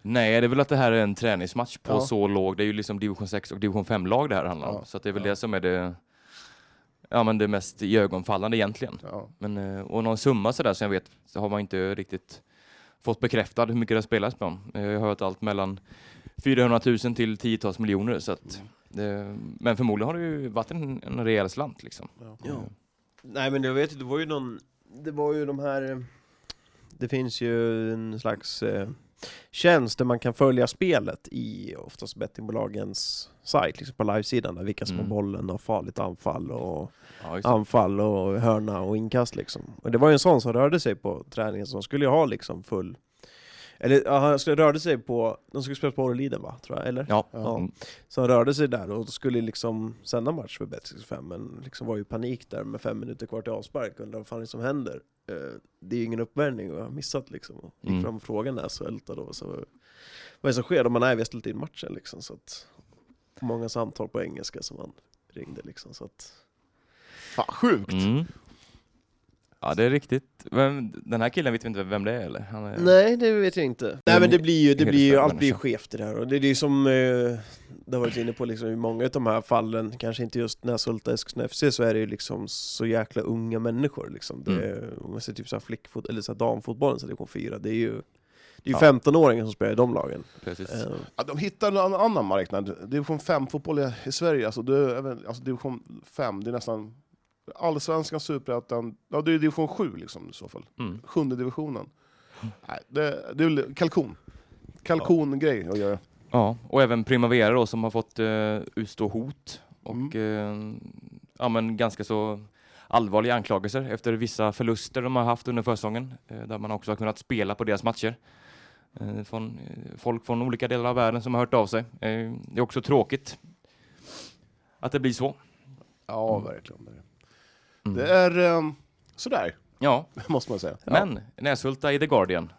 Speaker 1: Nej, det är väl att det här är en träningsmatch på
Speaker 2: Ja.
Speaker 1: så låg, det är ju liksom division 6 och division 5-lag det här handlar om.
Speaker 2: Ja,
Speaker 1: Så att det är väl
Speaker 2: ja.
Speaker 1: det som är det, ja, men det mest iögonfallande egentligen.
Speaker 2: Ja.
Speaker 1: Men, eh, och någon summa sådär som jag vet så har man inte riktigt fått bekräftad hur mycket det har spelats på. Eh, Jag har hört allt mellan 400 000 till tiotals miljoner. Så att, eh, men förmodligen har det ju varit en, en rejäl slant liksom.
Speaker 3: Ja. Nej men jag vet ju, det var ju någon, det var ju de här, eh, det finns ju en slags eh, tjänst där man kan följa spelet i oftast bettingbolagens sajt, liksom på livesidan, där vilka som har
Speaker 1: Mm.
Speaker 3: bollen och farligt anfall och
Speaker 1: Ja, just det.
Speaker 3: anfall och hörna och inkast liksom. Och det var ju en sån som rörde sig på träningen, så de skulle ju ha liksom full... Eller ja, han skulle rörde sig på, de skulle spela på Orreliden va, tror jag, eller?
Speaker 1: Ja.
Speaker 3: Ja.
Speaker 1: Mm.
Speaker 3: Så han rörde sig där och skulle liksom sända match för Bet65, men liksom var ju i panik där med fem minuter kvar till avspark, undrar vad fan det är som händer? Eh, det är ju ingen uppvärmning och jag har missat liksom. Och gick
Speaker 1: Mm.
Speaker 3: fram och frågade när jag ältade då, så vad är det som sker? De bara, nej vi har ställt in matchen liksom, så att... Många samtal på engelska som han ringde liksom, så att...
Speaker 2: Fan, sjukt!
Speaker 1: Mm. Ja, det är riktigt. Vem, den här killen vet vi inte vem det är eller? Han är,
Speaker 3: Nej, det vet jag inte. Nej
Speaker 1: en
Speaker 3: men det blir ju, det blir ju,
Speaker 1: hedersvärd
Speaker 3: allt blir ju
Speaker 1: människa.
Speaker 3: skevt i det här och det är ju som eh, det har varit inne på liksom i många av de här fallen, kanske inte just Näshulta Eskilstuna FC så är det ju liksom så jäkla unga människor liksom. Det, Om man ser typ såhär flickfot eller såhär damfotbollen så division 4, det är ju det är ju
Speaker 1: Ja.
Speaker 3: 15-åringar som spelar i de lagen.
Speaker 1: Precis.
Speaker 3: Eh,
Speaker 2: Ja, de hittar en annan marknad. Division 5-fotboll i- i Sverige, alltså, det är, även- alltså division 5, det är nästan allsvenskan, superettan, ja det är division 7 liksom i så fall.
Speaker 1: Mm.
Speaker 2: Sjunde divisionen. Nej, det, det är väl kalkon. Kalkongrej att göra.
Speaker 1: Ja, och även Primavera då som har fått eh, utstå hot och
Speaker 3: Mm.
Speaker 1: eh, ja, men ganska så allvarliga anklagelser efter vissa förluster de har haft under försäsongen eh, där man också har kunnat spela på deras matcher. Eh, från, eh, folk från olika delar av världen som har hört av sig. Eh, det är också tråkigt att det blir så.
Speaker 2: Ja,
Speaker 1: Mm.
Speaker 2: verkligen. Det är.
Speaker 1: Mm.
Speaker 2: Det är ehm, Sådär,
Speaker 1: Ja,
Speaker 2: måste man säga.
Speaker 1: men Näshulta i The Guardian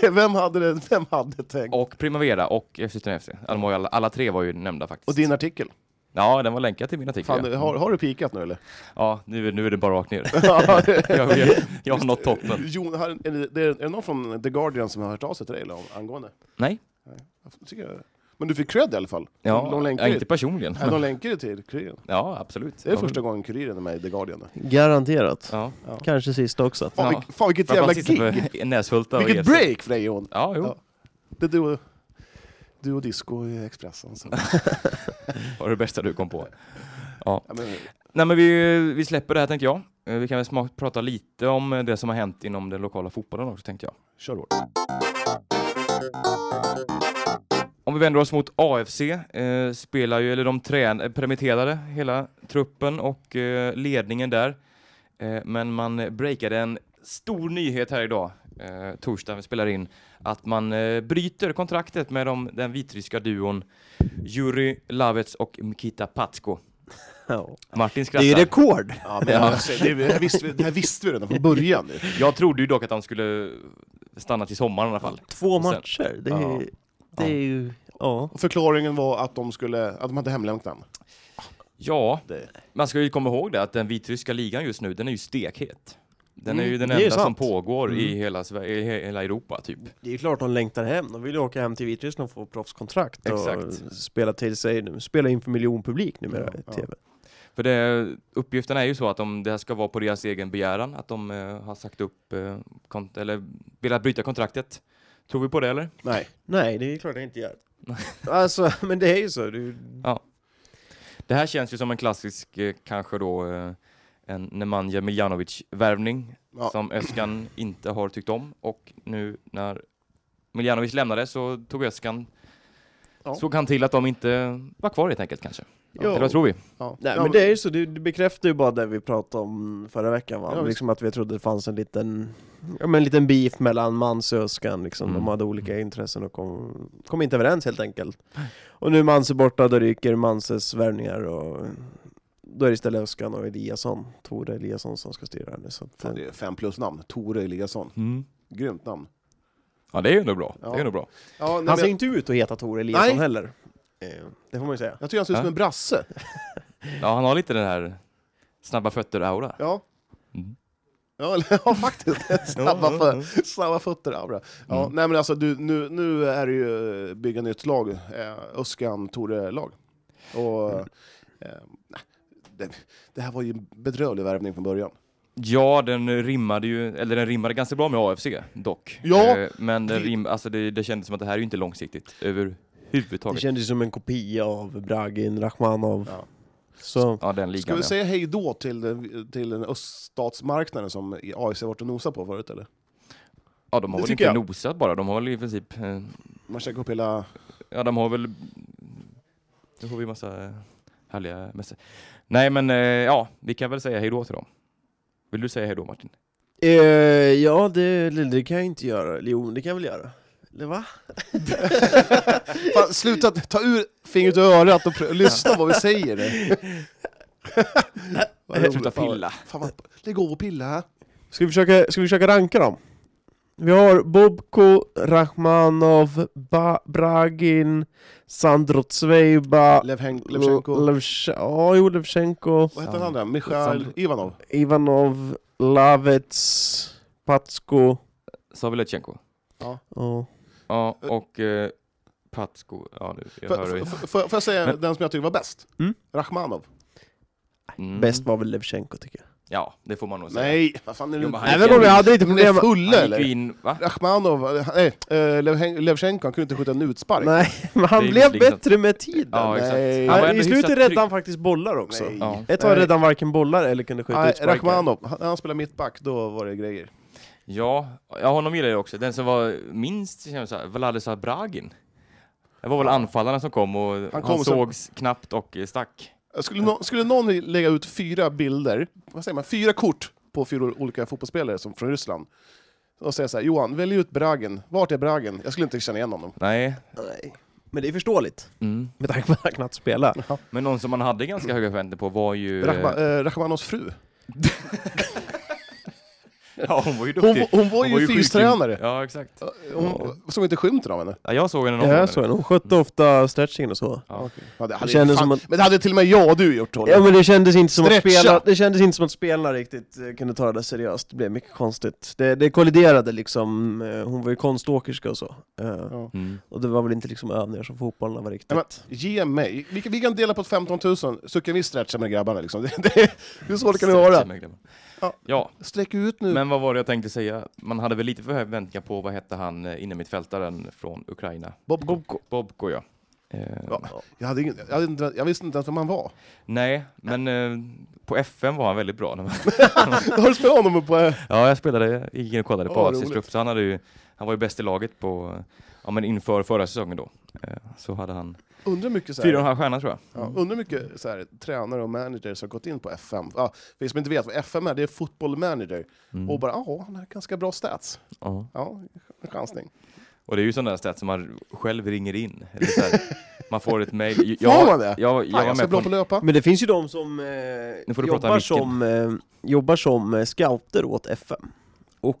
Speaker 2: Det- vem, hade det, vem hade tänkt?
Speaker 1: och Primavera och eh, FC Ystad FC. Alla, var ju- Alltså, alla, alla tre var ju nämnda faktiskt.
Speaker 2: Och din artikel?
Speaker 1: Ja, den var länkad till min artikel.
Speaker 2: Fan,
Speaker 1: ja.
Speaker 2: har, har du pikat nu eller?
Speaker 1: Ja, nu, är- nu är det bara rakt ner. jag, vet- jag har nått toppen.
Speaker 2: Jon, har, är, det, är det någon från The Guardian som har hört av sig till dig eller, om- angående?
Speaker 1: Nej,
Speaker 2: Jag tycker jag- Men du fick cred i alla fall?
Speaker 1: ja,
Speaker 2: de länkar
Speaker 1: ja,
Speaker 2: ju-
Speaker 1: inte personligen.
Speaker 2: Nej, de länkar ju till Kuriren.
Speaker 1: Ja, absolut.
Speaker 2: Det är
Speaker 1: Ja,
Speaker 2: första gången Kuriren är med i The Guardian. nu.
Speaker 3: Garanterat.
Speaker 1: Ja.
Speaker 3: Kanske sist också.
Speaker 2: Fan,
Speaker 1: Ja.
Speaker 2: vilk- fan vilket jävla
Speaker 1: Framförallt
Speaker 2: gig!
Speaker 1: sista för Näshulta och
Speaker 2: Vilket
Speaker 1: Ersta.
Speaker 2: break för dig Jon!
Speaker 1: Ja, jo.
Speaker 2: Ja. Det är du, och- du och disco i Expressen. Så.
Speaker 1: var det bästa du kom på.
Speaker 2: Ja, men,
Speaker 1: Nej, men vi, vi släpper det här tänkte jag. Eh, Vi kan väl smak, prata lite om eh, det som har hänt inom den lokala fotbollen också tänkte jag.
Speaker 2: kör hårt.
Speaker 1: Om vi vänder oss mot AFC, eh, spelar ju, eller de trän, eh, permitterade hela truppen och eh, ledningen där. Eh, men man eh, breakade en stor nyhet här idag, eh, torsdag vi spelar in, att man eh, bryter kontraktet med de, den vitryska duon Juri Lavets och Mikita Patsko.
Speaker 3: Ja.
Speaker 1: Martin
Speaker 3: Det är ju
Speaker 1: skrattar.
Speaker 3: rekord!
Speaker 2: Ja, men, alltså, det, det, här visste vi, det här visste vi redan från början. nu.
Speaker 1: Jag trodde ju dock att de skulle stanna till sommaren i alla fall.
Speaker 3: Två
Speaker 1: Och sen-
Speaker 3: matcher, det
Speaker 1: Ja.
Speaker 3: är, det är ju... Ja.
Speaker 2: Och förklaringen var att de, skulle, att de hade hemlängtan.
Speaker 1: Ja,
Speaker 2: Det-
Speaker 1: man ska ju komma ihåg det att den vitryska ligan just nu, den är ju stekhet. Den är
Speaker 3: Mm,
Speaker 1: ju den
Speaker 3: det är ju
Speaker 1: enda som
Speaker 3: sant. Mm.
Speaker 1: pågår i, hela Sverige, i he- hela Europa, typ.
Speaker 3: Det är ju klart de längtar hem, de vill ju åka hem till Vitryssland och få proffskontrakt och
Speaker 1: Exakt.
Speaker 3: spela till sig, spela inför miljonpublik numera i
Speaker 2: Ja,
Speaker 3: TV.
Speaker 1: För det, uppgifterna är ju så att de, det här ska vara på deras egen begäran, att de eh, har sagt upp, eh, kont- eller velat bryta kontraktet. Tror vi på det eller?
Speaker 2: Nej.
Speaker 3: Nej, det är klart jag inte gör. alltså, men det är ju så. Du...
Speaker 1: Det här känns ju som en klassisk, eh, kanske då, eh, en Nemanja Miljanovic-värvning
Speaker 2: Ja.
Speaker 1: som Öskan inte har tyckt om. Och nu när Miljanovic lämnade så tog Öskan
Speaker 2: Ja.
Speaker 1: Såg han till att de inte var kvar helt enkelt kanske?
Speaker 2: Jo.
Speaker 1: Eller vad tror vi?
Speaker 2: Ja.
Speaker 3: Nej,
Speaker 2: Ja,
Speaker 3: men det är ju så. Du, du bekräftar ju bara det vi pratade om förra veckan va?
Speaker 2: Ja, visst.
Speaker 3: liksom att vi trodde det fanns en liten, ja, men en liten beef mellan Manse och Öskan liksom.
Speaker 1: Mm.
Speaker 3: De hade olika intressen och kom, kom inte överens helt enkelt. Och nu är Manse borta, då ryker Manses värvningar och då är det istället Öskan och Eliasson, Tore Eliasson som ska styra här nu. Så att,
Speaker 2: Fan, det är fem plus namn. Tore Eliasson. Grymt namn.
Speaker 1: Mm. Ja, det är ju ändå bra.
Speaker 2: Ja.
Speaker 1: Det är ändå bra.
Speaker 2: Ja, nej,
Speaker 3: han ser
Speaker 2: men jag,
Speaker 3: inte ut att heta Tore Eliasson
Speaker 2: Nej.
Speaker 3: heller. Eh, Det får man ju säga.
Speaker 2: jag tycker han ser ut som
Speaker 1: Ja.
Speaker 2: en brasse.
Speaker 1: Ja, han har lite den här snabba fötter-aura.
Speaker 2: Ja.
Speaker 1: Mm.
Speaker 2: Ja, eller- ja faktiskt. Snabba, fö- snabba fötter, Abra. Ja,
Speaker 1: Mm.
Speaker 2: Nej men alltså, du, nu, nu är det ju eh, bygga nytt lag, eh, Öskan Tore-lag. Och
Speaker 1: Mm.
Speaker 2: eh, nej, det, det här var ju en bedrövlig värvning från början.
Speaker 1: Ja, den rimmade ju, eller den rimmade ganska bra med AFC dock.
Speaker 2: Ja.
Speaker 1: Eh, Men den
Speaker 2: Det-
Speaker 1: rim, alltså det, det kändes som att det här är ju inte långsiktigt
Speaker 3: Det
Speaker 1: överhuvudtaget.
Speaker 3: kändes som en kopia av Bragin, Rachmanov.
Speaker 2: Ja.
Speaker 3: Så,
Speaker 1: Ja, den
Speaker 2: Ska
Speaker 1: ligan.
Speaker 2: vi
Speaker 1: Ja.
Speaker 2: säga hej då till, den- till den öststatsmarknaden som AIC har varit och nosat på förut eller?
Speaker 1: ja, de har
Speaker 2: det
Speaker 1: väl
Speaker 2: tycker
Speaker 1: inte
Speaker 2: jag.
Speaker 1: nosat bara. De har väl i princip, eh,
Speaker 2: Man käkar upp hela...
Speaker 1: ja de har väl, nu får vi massa eh, härliga mässor. Nej men eh, ja, vi kan väl säga hejdå till dem. Vill du säga hejdå Martin?
Speaker 3: eh, ja, det, det, det kan jag inte göra. Eller Jo, det kan jag väl göra. Eller va?
Speaker 2: Fan, sluta ta ur fingret ur örat och pr- lyssna vad vi säger. Vad roligt.
Speaker 1: Sluta pilla.
Speaker 2: Fan, vad... Lägg av och pilla.
Speaker 3: Ska vi försöka, ska vi försöka ranka dem? Vi har Bobko, Rachmanov, ba, Bragin, Sandro Zvejba,
Speaker 2: Levhen- Levchenko.
Speaker 3: Levchenko, ja, jo, Levchenko
Speaker 2: Vad heter han där? Michail
Speaker 1: Sand-
Speaker 2: Ivanov?
Speaker 3: Ivanov, Lavets, Patsko.
Speaker 1: Sa vi Letjenko?
Speaker 3: Ja.
Speaker 1: Ja, och eh, Patsko. Ja, nu, jag
Speaker 2: Får
Speaker 1: hör
Speaker 2: får-
Speaker 1: hur-
Speaker 2: får- får jag säga den som jag tycker var bäst?
Speaker 3: Mm.
Speaker 2: Rachmanov?
Speaker 1: Mm.
Speaker 3: Bäst var väl Levchenko tycker jag.
Speaker 1: Ja, det får man nog säga.
Speaker 2: Nej, vad fan är
Speaker 1: Jo,
Speaker 2: det?
Speaker 1: men han-
Speaker 3: Även om jag hade lite
Speaker 2: Han är
Speaker 3: problem med...
Speaker 2: full
Speaker 1: Han gick ju
Speaker 2: eller?
Speaker 1: in, va?
Speaker 2: Rachmanov, eh, nej, eh, Levhen- Levchenko, han kunde inte skjuta en utspark.
Speaker 3: Nej, men han
Speaker 1: Det är
Speaker 3: blev
Speaker 1: visserligen sant.
Speaker 3: bättre med tiden.
Speaker 1: Ja, exakt.
Speaker 2: Nej.
Speaker 1: Han var
Speaker 3: Nej,
Speaker 1: ändå
Speaker 3: I slutet
Speaker 1: hyfsat
Speaker 3: räddade
Speaker 1: trygg.
Speaker 3: han faktiskt bollar också.
Speaker 2: Nej.
Speaker 1: Ja.
Speaker 3: Ett tag
Speaker 2: Nej.
Speaker 3: räddade han varken bollar eller kunde skjuta
Speaker 2: Nej,
Speaker 3: utsparkar.
Speaker 2: Rachmanov, han, han spelar mittback, då var det grejer.
Speaker 1: Ja, ja, honom gillar jag också. Den som var minst, känns så här, Vladislav Bragin. Det var väl anfallarna som kom och han,
Speaker 2: kom som-
Speaker 1: sågs knappt och eh, stack.
Speaker 2: Skulle, nå- skulle någon lägga ut fyra bilder, vad säger man, fyra kort på fyra olika fotbollsspelare som från Ryssland och säga så här, Johan, välj ut Bragen. Vart är Bragen? Jag skulle inte känna igen honom.
Speaker 1: Nej.
Speaker 3: Nej. Men det är förståeligt,
Speaker 1: Mm.
Speaker 3: med tanke på att han knappt spelar.
Speaker 1: Men någon som man hade ganska höga förväntningar på var ju... eh,
Speaker 2: Rachma, eh, Rachmanovs fru.
Speaker 1: Ja, hon var ju
Speaker 2: Hon,
Speaker 1: duktig.
Speaker 2: hon, var ju
Speaker 1: sjukhus-
Speaker 2: fystränare.
Speaker 1: Ja, exakt.
Speaker 2: Hon såg inte skymten av henne.
Speaker 1: Ja, jag såg henne någon
Speaker 3: Ja,
Speaker 1: gång.
Speaker 3: jag såg henne. Hon skötte ofta stretchingen och så.
Speaker 1: Ja.
Speaker 2: Ja, det hade,
Speaker 3: kändes
Speaker 2: fan,
Speaker 3: som att-
Speaker 2: Men det hade till och med jag och du gjort Tony.
Speaker 3: Ja men det kändes inte som att
Speaker 2: Stretcha.
Speaker 3: spelarna, det kändes inte som att spelarna riktigt eh, kunde ta det där seriöst, det blev mycket konstigt. Det, det kolliderade liksom, eh, hon var ju konståkerska och så. Eh,
Speaker 1: Mm.
Speaker 3: Och det var väl inte liksom övningar som fotbollarna var riktigt.
Speaker 2: Ja, men, ge mig. Vi, kan- vi kan dela på 15 000, så kan vi stretcha med grabbarna. Liksom. Det, det, hur svårt kan det vara? Ja.
Speaker 1: Ja. ja,
Speaker 2: Sträck ut nu.
Speaker 1: men vad var det jag tänkte säga? Man hade väl lite förväntningar på, vad hette han, eh, innermittfältaren från Ukraina?
Speaker 2: Bob,
Speaker 1: Bobko, ja. Eh,
Speaker 2: Ja. Jag, hade ingen, jag, hade inte, jag visste inte ens vem han var.
Speaker 1: Nej, men eh, på FM var han väldigt bra. när man-
Speaker 2: Har du spelat honom på... eh,
Speaker 1: ja, jag spelade, gick in och kollade på
Speaker 2: Åh,
Speaker 1: AFCs
Speaker 2: roligt.
Speaker 1: trupp, så han, hade ju, han var ju bäst i laget på, ja men inför förra säsongen då. Eh, så hade han
Speaker 2: Undrar mycket så
Speaker 1: fyra och en
Speaker 2: här,
Speaker 1: halv stjärna tror jag.
Speaker 2: ja, undrar mycket så här, tränare och managers har gått in på FM. Ja, för er som inte vet vad FM är, det är football manager.
Speaker 1: Mm.
Speaker 2: Och bara, ja, han har ganska bra stats.
Speaker 1: Ja.
Speaker 2: Ja, en chansning.
Speaker 1: Och det är ju sådana där stats som man själv ringer in. Eller så här, man får ett mejl.
Speaker 2: Får man det?
Speaker 1: Jag, jag,
Speaker 2: Fan,
Speaker 1: var
Speaker 2: jag ska
Speaker 1: med på
Speaker 2: blå på
Speaker 1: en,
Speaker 2: löpa.
Speaker 3: Men det finns ju de som eh,
Speaker 1: får du prata i
Speaker 3: jobbar, som, eh, jobbar som eh, scouter åt FM.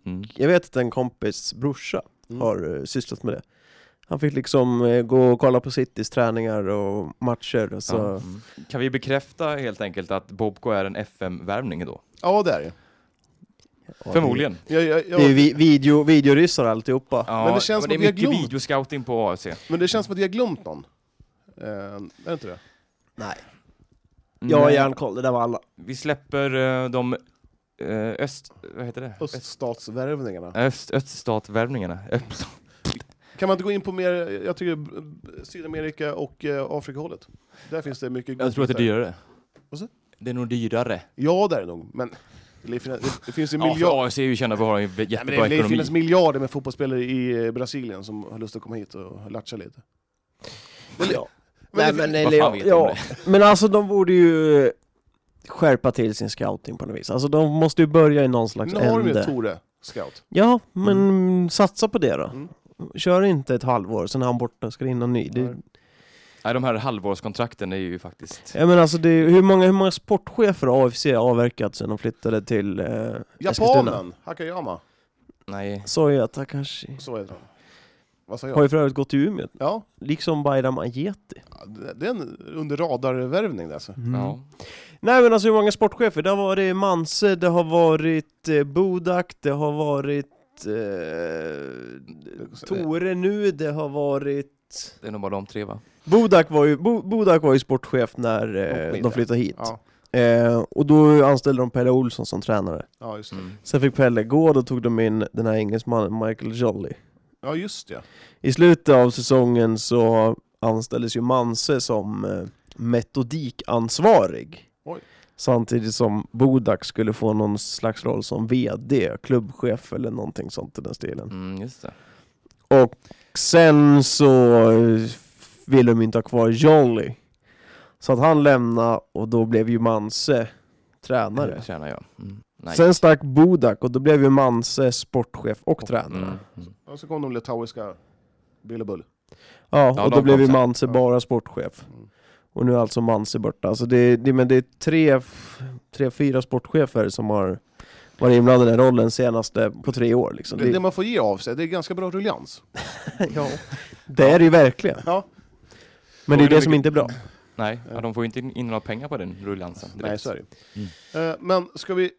Speaker 1: mm.
Speaker 3: Jag vet att en kompis brorsa
Speaker 2: Mm.
Speaker 3: har eh, sysslat med det. Han fick liksom eh, gå och kolla på Citys träningar och matcher och så.
Speaker 1: Ja, mm. Kan vi bekräfta helt enkelt att Bobko är en FM-värvning då?
Speaker 2: Ja, det är det.
Speaker 3: Ja,
Speaker 1: Förmodligen.
Speaker 2: Jag, jag,
Speaker 3: Det, det är ju
Speaker 2: jag,
Speaker 3: vi, video, videoryssar alltihopa.
Speaker 1: Ja,
Speaker 2: Men det känns som
Speaker 1: det är
Speaker 2: att vi har
Speaker 1: mycket
Speaker 2: glömt.
Speaker 1: videoscouting på AFC.
Speaker 2: men det känns som att jag har glömt någon. Eh, är det inte det?
Speaker 3: Nej, Mm. jag har
Speaker 1: Nej.
Speaker 3: järnkoll, det där var alla.
Speaker 1: Mm. Vi släpper eh, de eh, öst... Vad heter det? Öst-
Speaker 2: Öststatsvärvningarna.
Speaker 1: Öst, öststatvärvningarna. Öst-
Speaker 2: Kan man inte gå in på mer, jag tycker, eh, Sydamerika och eh, Afrikahållet? Där finns det mycket
Speaker 1: Jag tror att det är dyrare.
Speaker 2: Vad sa du?
Speaker 1: Det är nog dyrare.
Speaker 2: Ja, där är det nog, men det, fin- det finns ju
Speaker 1: Ja,
Speaker 2: miljarder.
Speaker 1: för AFC är ju kända för att ha en jättebra
Speaker 2: Nej, men det, det
Speaker 1: ekonomi.
Speaker 2: finns miljarder med fotbollsspelare i eh, Brasilien som har lust att komma hit och latcha lite. Eller-
Speaker 3: Ja.
Speaker 2: Men eh,
Speaker 3: Nej,
Speaker 2: det-
Speaker 3: men,
Speaker 1: Vad
Speaker 3: eller,
Speaker 1: fan
Speaker 3: ja,
Speaker 1: vet de
Speaker 3: ja. men alltså de borde ju skärpa till sin scouting på något vis. Alltså de måste ju börja i någon slags
Speaker 2: Nu har de ju
Speaker 3: ände.
Speaker 2: Tore Scout.
Speaker 3: Ja, men satsa på det då.
Speaker 2: Mm.
Speaker 3: Kör inte ett halvår, sen är han borta, ska det in någon ny. Det,
Speaker 2: Nej.
Speaker 1: Nej, de här halvårskontrakten är ju faktiskt...
Speaker 3: jag menar alltså, det, hur, många, hur många sportchefer har AFC avverkat sen de flyttade till eh, Eskilstuna?
Speaker 2: Japanen, Hakayama.
Speaker 1: Nej.
Speaker 3: Soja Takashi.
Speaker 2: Så heter han. Vad sa
Speaker 3: Har
Speaker 2: jag?
Speaker 3: ju för övrigt gått till Umeå,
Speaker 2: Ja,
Speaker 3: liksom Bayram Ajeti.
Speaker 2: det det är en under radarvärvning där. Alltså.
Speaker 1: Ja.
Speaker 3: Nej men alltså hur många sportchefer? Det har varit Manse, det har varit eh, Bodak, det har varit eh, Tore nu, det har varit...
Speaker 1: Det är nog bara de tre va?
Speaker 3: Bodak var ju, Bo, Bodak var ju sportchef när
Speaker 2: De kom
Speaker 3: eh,
Speaker 2: hit,
Speaker 3: de flyttade hit.
Speaker 2: Ja,
Speaker 3: Eh, och då anställde de Pelle Olsson som tränare.
Speaker 2: ja, just det.
Speaker 1: Mm.
Speaker 3: Sen fick Pelle gå, då tog de in den här engelsmannen Michael Jolly.
Speaker 2: Ja, just det.
Speaker 3: I slutet av säsongen så anställdes ju Manse som eh, metodikansvarig.
Speaker 2: Oj.
Speaker 3: Samtidigt som Bodak skulle få någon slags roll som VD, klubbchef eller någonting sånt i den stilen.
Speaker 1: Mm, just det.
Speaker 3: Och sen så eh, ville de inte ha kvar Jolly. Så att han lämnade och då blev ju Manse tränare.
Speaker 1: Tjänar jag. Mm. Nej.
Speaker 3: Sen stack Bodak och då blev ju Manse sportchef och tränare.
Speaker 1: Mm. Mm.
Speaker 2: Och så kom de litauiska Bill Bull.
Speaker 3: Ja,
Speaker 1: Ja,
Speaker 3: och
Speaker 1: de
Speaker 3: då blev
Speaker 1: kom
Speaker 3: ju
Speaker 1: sen.
Speaker 3: Manse
Speaker 2: Ja.
Speaker 3: bara sportchef.
Speaker 2: Mm.
Speaker 3: Och nu är alltså Manse borta. Alltså det, det, men det är tre, f- tre, fyra sportchefer som har varit inblandade i den här rollen senaste på tre år. Liksom.
Speaker 2: Det,
Speaker 3: Det,
Speaker 2: det man får ge av sig, det är ganska bra ruljans.
Speaker 3: ja. det är det ju verkligen.
Speaker 2: Ja.
Speaker 3: Men det är det som inte är bra.
Speaker 1: Nej, ja, de får ju inte in in några pengar på den rullansen.
Speaker 2: Nej, så är det ju.
Speaker 1: Mm.
Speaker 2: Eh, Men ska vi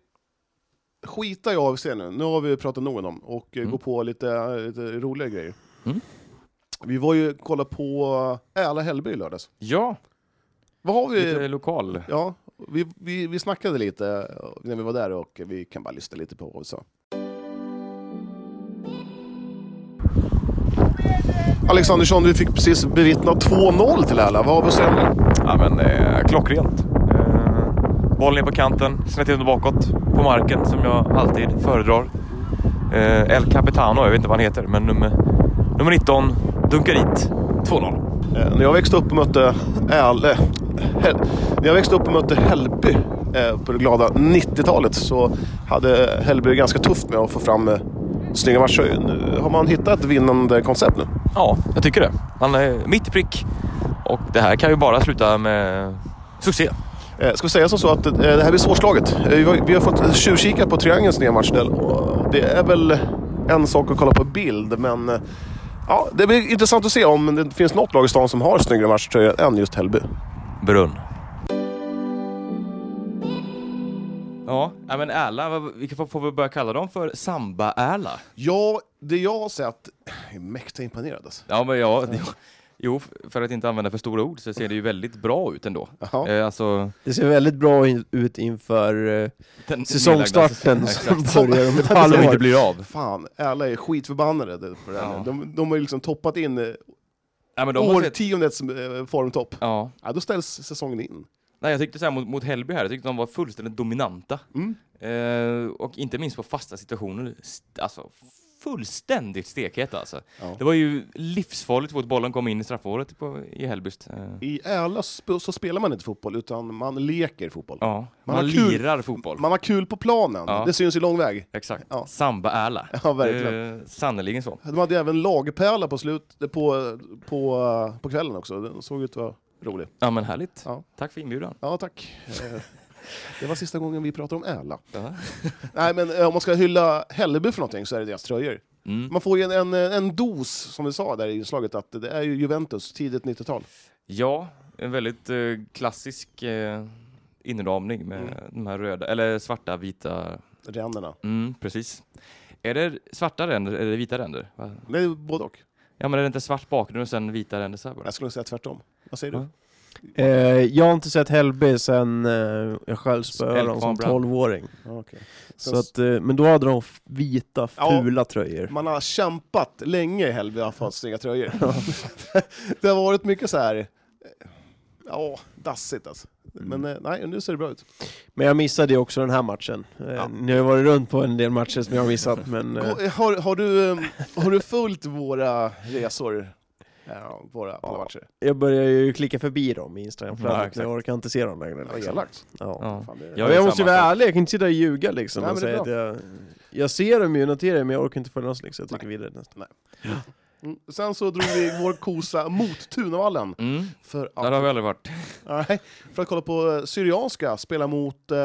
Speaker 2: skita i AFC nu? Nu har vi pratat nog om dem och eh,
Speaker 1: Mm.
Speaker 2: gå på lite, eh, lite roliga grejer.
Speaker 1: Mm.
Speaker 2: Vi var ju kolla på eh, Alla Hällby i lördags.
Speaker 1: Ja,
Speaker 2: Vad har
Speaker 1: lite
Speaker 2: vi?
Speaker 1: lokal.
Speaker 2: Ja, vi, vi, vi snackade lite eh, när vi var där och vi kan bara lyssna lite på vad vi sa. Alexandersson, du fick precis bevittna 2-0 till alla. Vad har vi att säga om det?
Speaker 1: Ja, men eh, klockrent. Eh, bollen är på kanten, snett in och bakåt på marken som jag alltid föredrar. Eh, El Capitano, jag vet inte vad han heter, men nummer, nummer 19 dunkar dit 2-0.
Speaker 2: Eh, När jag växte upp och mötte Äl, eh, Häll, när jag växte upp och mötte Hällby eh, på det glada 90-talet så hade Hällby ganska tufft med att få fram eh, snygga matcher. Nu har man hittat ett vinnande koncept nu?
Speaker 1: Ja, jag tycker det. Han är mitt i prick och det här kan ju bara sluta med succé.
Speaker 2: Eh, Ska vi säga som så att eh, det här blir svårslaget. Eh, Vi har, vi har fått tjuvkika på Triangelns nya matchställ. och Det är väl en sak att kolla på bild, men eh, ja, det blir intressant att se om det finns något lag i stan som har snyggare matchtröja än just Hällby.
Speaker 1: Brunn. Ja, ja, men Äla, vad- vi kan få- får väl börja kalla dem för Samba-Äla.
Speaker 2: Ja, det jag har sett... Jag är mäkta imponerad alltså.
Speaker 1: Ja, men ja, jo, för att inte använda för stora ord så ser det ju väldigt bra ut ändå.
Speaker 2: Jaha.
Speaker 1: Eh, alltså,
Speaker 3: Det ser väldigt bra in, ut inför eh,
Speaker 1: den
Speaker 3: säsongstarten
Speaker 1: nedlagda
Speaker 3: som
Speaker 1: säsongen.
Speaker 3: börjar om
Speaker 1: alltså.
Speaker 3: ett
Speaker 1: Exakt. Som inte
Speaker 3: halvår.
Speaker 1: blir av.
Speaker 2: Fan, alla är skitförbannade på det här.
Speaker 1: Ja.
Speaker 2: nu. De, de har ju liksom toppat in eh,
Speaker 1: Ja, men de har sett,
Speaker 2: årtiondets eh, formtopp.
Speaker 1: ja.
Speaker 2: Ja, då ställs säsongen in.
Speaker 1: Nej, jag tyckte så här mot, mot Hällby här, jag tyckte de var fullständigt dominanta.
Speaker 2: Mm.
Speaker 1: Eh, och inte minst på fasta situationer. St- alltså, fullständigt stekheta alltså.
Speaker 2: Ja.
Speaker 1: Det var ju livsfarligt fort bollen kom in i straffområdet på, i Hällbyst. Eh,
Speaker 2: I Äla sp- så spelar man inte fotboll, utan man leker fotboll.
Speaker 1: ja, man,
Speaker 2: Man har kul.
Speaker 1: lirar fotboll.
Speaker 2: Man har kul på planen,
Speaker 1: Ja.
Speaker 2: det syns i lång väg.
Speaker 1: Exakt.
Speaker 2: Ja.
Speaker 1: Samba-Äla.
Speaker 2: Ja, verkligen.
Speaker 1: Eh, sannerligen så.
Speaker 2: De hade även lagpärla på, slut, eh, på, på, eh, på kvällen också, den såg ut att vara rolig.
Speaker 1: Ja, men härligt.
Speaker 2: Ja.
Speaker 1: Tack för inbjudan.
Speaker 2: Ja, tack. Eh, Det var sista gången vi pratade om Äla.
Speaker 1: Ja.
Speaker 2: Nej, men eh, om man ska hylla Hälleby för någonting så är det deras tröjor.
Speaker 1: Mm.
Speaker 2: Man får ju en, en, en dos, som vi sa där i inslaget, att det är ju Juventus, tidigt 90-tal.
Speaker 1: Ja, en väldigt eh, klassisk eh, inramning med
Speaker 2: Mm.
Speaker 1: de här röda, eller svarta, vita.
Speaker 2: Ränderna.
Speaker 1: Mm, precis. Är det svarta ränder eller vita ränder? Va?
Speaker 2: Nej, både och.
Speaker 1: Ja, men är det inte svart bakgrund och sen vita ränder så här bara?
Speaker 2: Jag skulle säga tvärtom. Vad säger
Speaker 1: Ja.
Speaker 2: du?
Speaker 3: Eh, jag har inte sett Hällby sen eh, jag själv spöade dem som
Speaker 1: Elkvarnbrand.
Speaker 3: 12-åring.
Speaker 2: Ja, okej.
Speaker 3: Så att, eh, men då hade de f- vita,
Speaker 2: Ja.
Speaker 3: fula tröjor.
Speaker 2: Man har kämpat länge i Hällby för att få snygga tröjor. det har varit mycket så här... eh, Ja, dassigt alltså.
Speaker 1: Mm.
Speaker 2: Men eh, nej, nu ser det bra ut.
Speaker 3: Men jag missade ju också den här matchen. Eh,
Speaker 2: Ja.
Speaker 3: Ni har ju varit runt på en del matcher som jag har missat, men... Eh,
Speaker 2: Gå- Har, har, du, eh, har du följt våra resor? Ja, våra på
Speaker 3: Ja.
Speaker 2: matcher.
Speaker 3: jag börjar ju klicka förbi dem i
Speaker 1: Ja,
Speaker 3: Instagramflödet,
Speaker 1: exakt.
Speaker 3: men jag orkar inte se dem längre.
Speaker 2: Det var
Speaker 3: Liksom.
Speaker 2: elakt.
Speaker 3: Ja.
Speaker 1: Ja.
Speaker 2: Fan, det är-
Speaker 1: Jag
Speaker 3: Jag,
Speaker 1: gör
Speaker 3: måste ju
Speaker 1: samma
Speaker 3: vara
Speaker 1: sak.
Speaker 3: ärlig, jag kan inte sitta och ljuga liksom
Speaker 2: Nej,
Speaker 3: och
Speaker 2: men det
Speaker 3: säga
Speaker 2: är
Speaker 3: att jag... Jag ser dem ju, noterar dem, men jag orkar inte följa dem så länge, så jag trycker vidare nästan.
Speaker 2: Mm. Sen så drog vi vår kosa mot Tunavallen.
Speaker 1: Mm,
Speaker 2: För
Speaker 1: där har
Speaker 2: att,
Speaker 1: vi aldrig varit.
Speaker 2: nej, för att kolla på eh, Syrianska spela mot eh,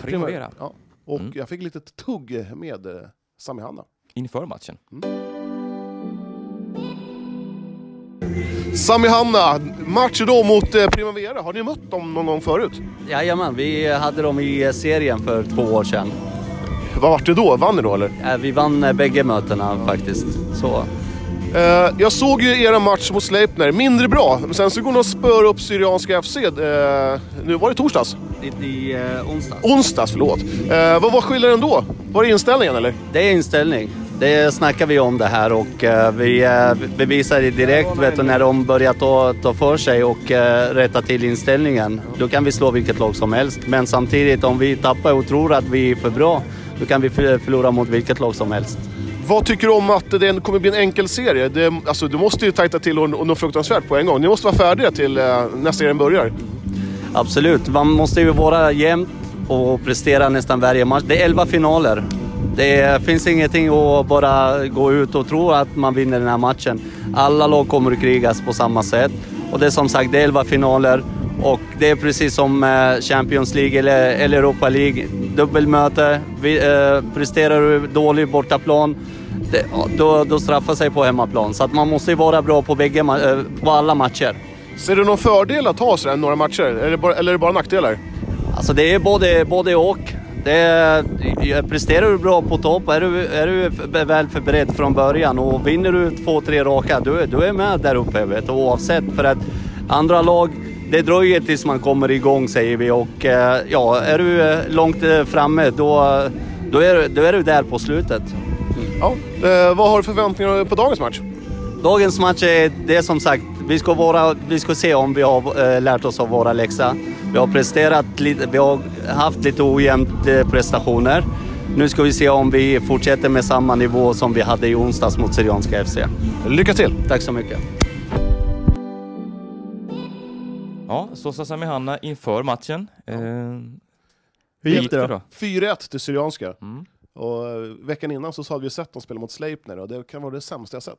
Speaker 2: Primavera. Ja. Och
Speaker 1: Mm.
Speaker 2: jag fick lite tugg med eh, Sami Hanna.
Speaker 1: Inför matchen.
Speaker 2: Sami Hanna, match då mot eh, Primavera. Har ni mött dem någon gång förut?
Speaker 4: Jajamän, vi hade dem i serien för två år sedan.
Speaker 2: Vad vart det då? Vann ni då eller?
Speaker 4: Eh, Vi vann eh, bägge mötena faktiskt. Så.
Speaker 2: Eh, jag såg ju era match mot Sleipner, mindre bra. Men sen så går ni och spör upp Syrianska FC. Eh, nu var det torsdags?
Speaker 4: I, i eh, onsdags.
Speaker 2: Onsdags, förlåt. Eh, vad var skillnaden då? Var det inställningen eller?
Speaker 4: Det är inställning. Det snackar vi om det här och eh, vi, eh, vi visar det direkt vet du, när de börjar ta, ta för sig och eh, rätta till inställningen. Då kan vi slå vilket lag som helst. Men samtidigt om vi tappar och tror att vi är för bra, då kan vi för- förlora mot vilket lag som helst.
Speaker 2: Vad tycker du om att det kommer bli en enkel serie? Det, alltså, du måste ju tajta till och, och nå fruktansvärt på en gång. Ni måste vara färdiga till eh, nästa serie börjar.
Speaker 4: Absolut, man måste ju vara jämnt och prestera nästan varje match. Det är elva finaler. Det finns ingenting att bara gå ut och tro att man vinner den här matchen. Alla lag kommer att krigas på samma sätt. Och det är som sagt, det är elva finaler och det är precis som eh, Champions League eller, eller Europa League. Dubbelmöte, vi, eh, presterar du dålig bortaplan, det, ja, då, då straffar sig på hemmaplan. Så att man måste ju vara bra på, bägge, ma- eh, på alla matcher.
Speaker 2: Ser du någon fördel att ha sådär några matcher? Eller, bara, eller är det bara nackdelar?
Speaker 4: Alltså det är både, både och. Det är, presterar du bra på topp, är du, är du f- väl förberedd från början och vinner du två, tre raka, du, är- du är med där uppe vet, du, oavsett. För att andra lag, det dröjer tills man kommer igång säger vi och eh, ja, är du eh, långt eh, framme då, då, är, du- då är du där på slutet.
Speaker 2: Ja. Eh, vad har du för förväntningar på dagens match?
Speaker 4: Dagens match är det är som sagt, vi ska, vara, vi ska se om vi har eh, lärt oss av våra läxa. Vi har presterat lite, vi har haft lite ojämnt eh, prestationer. Nu ska vi se om vi fortsätter med samma nivå som vi hade i onsdags mot Syrianska FC.
Speaker 2: Lycka till!
Speaker 4: Tack så mycket.
Speaker 1: Ja, så sa Sami Hanna inför matchen. Eh,
Speaker 3: Hur gick det då?
Speaker 2: 4-1 till Syrianska.
Speaker 1: Mm.
Speaker 2: Och eh, veckan innan så hade vi sett dem spela mot Sleipner och det kan vara det sämsta jag sett.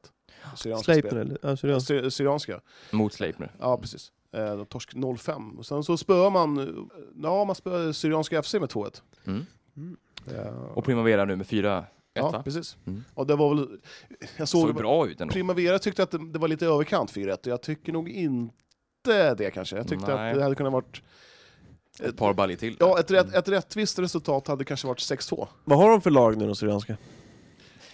Speaker 2: Syrianska
Speaker 3: Sleipner eller? Alltså, det var-
Speaker 2: spel. Sy- Syrianska.
Speaker 1: Mot Sleipner.
Speaker 2: Ja, precis. Eh, de torsk 0-5. Och sen så spöar man, eh, ja man spöar Syrianska FC med 2-1.
Speaker 1: Mm.
Speaker 2: Eh,
Speaker 1: Och Primavera nu med 4-1
Speaker 2: ja,
Speaker 1: va?
Speaker 2: precis.
Speaker 1: Mm.
Speaker 2: Och det var väl, jag såg,
Speaker 1: Såg ju bra ut ändå.
Speaker 2: Primavera tyckte att det, det var lite överkant 4-1, och jag tycker nog inte det kanske. Jag tyckte
Speaker 1: Nej.
Speaker 2: att det hade kunnat varit,
Speaker 1: Ett par baljor till.
Speaker 2: ja ett, rätt, ett rättvist resultat hade kanske varit 6-2.
Speaker 3: Vad har de för lag nu, de Syrianska?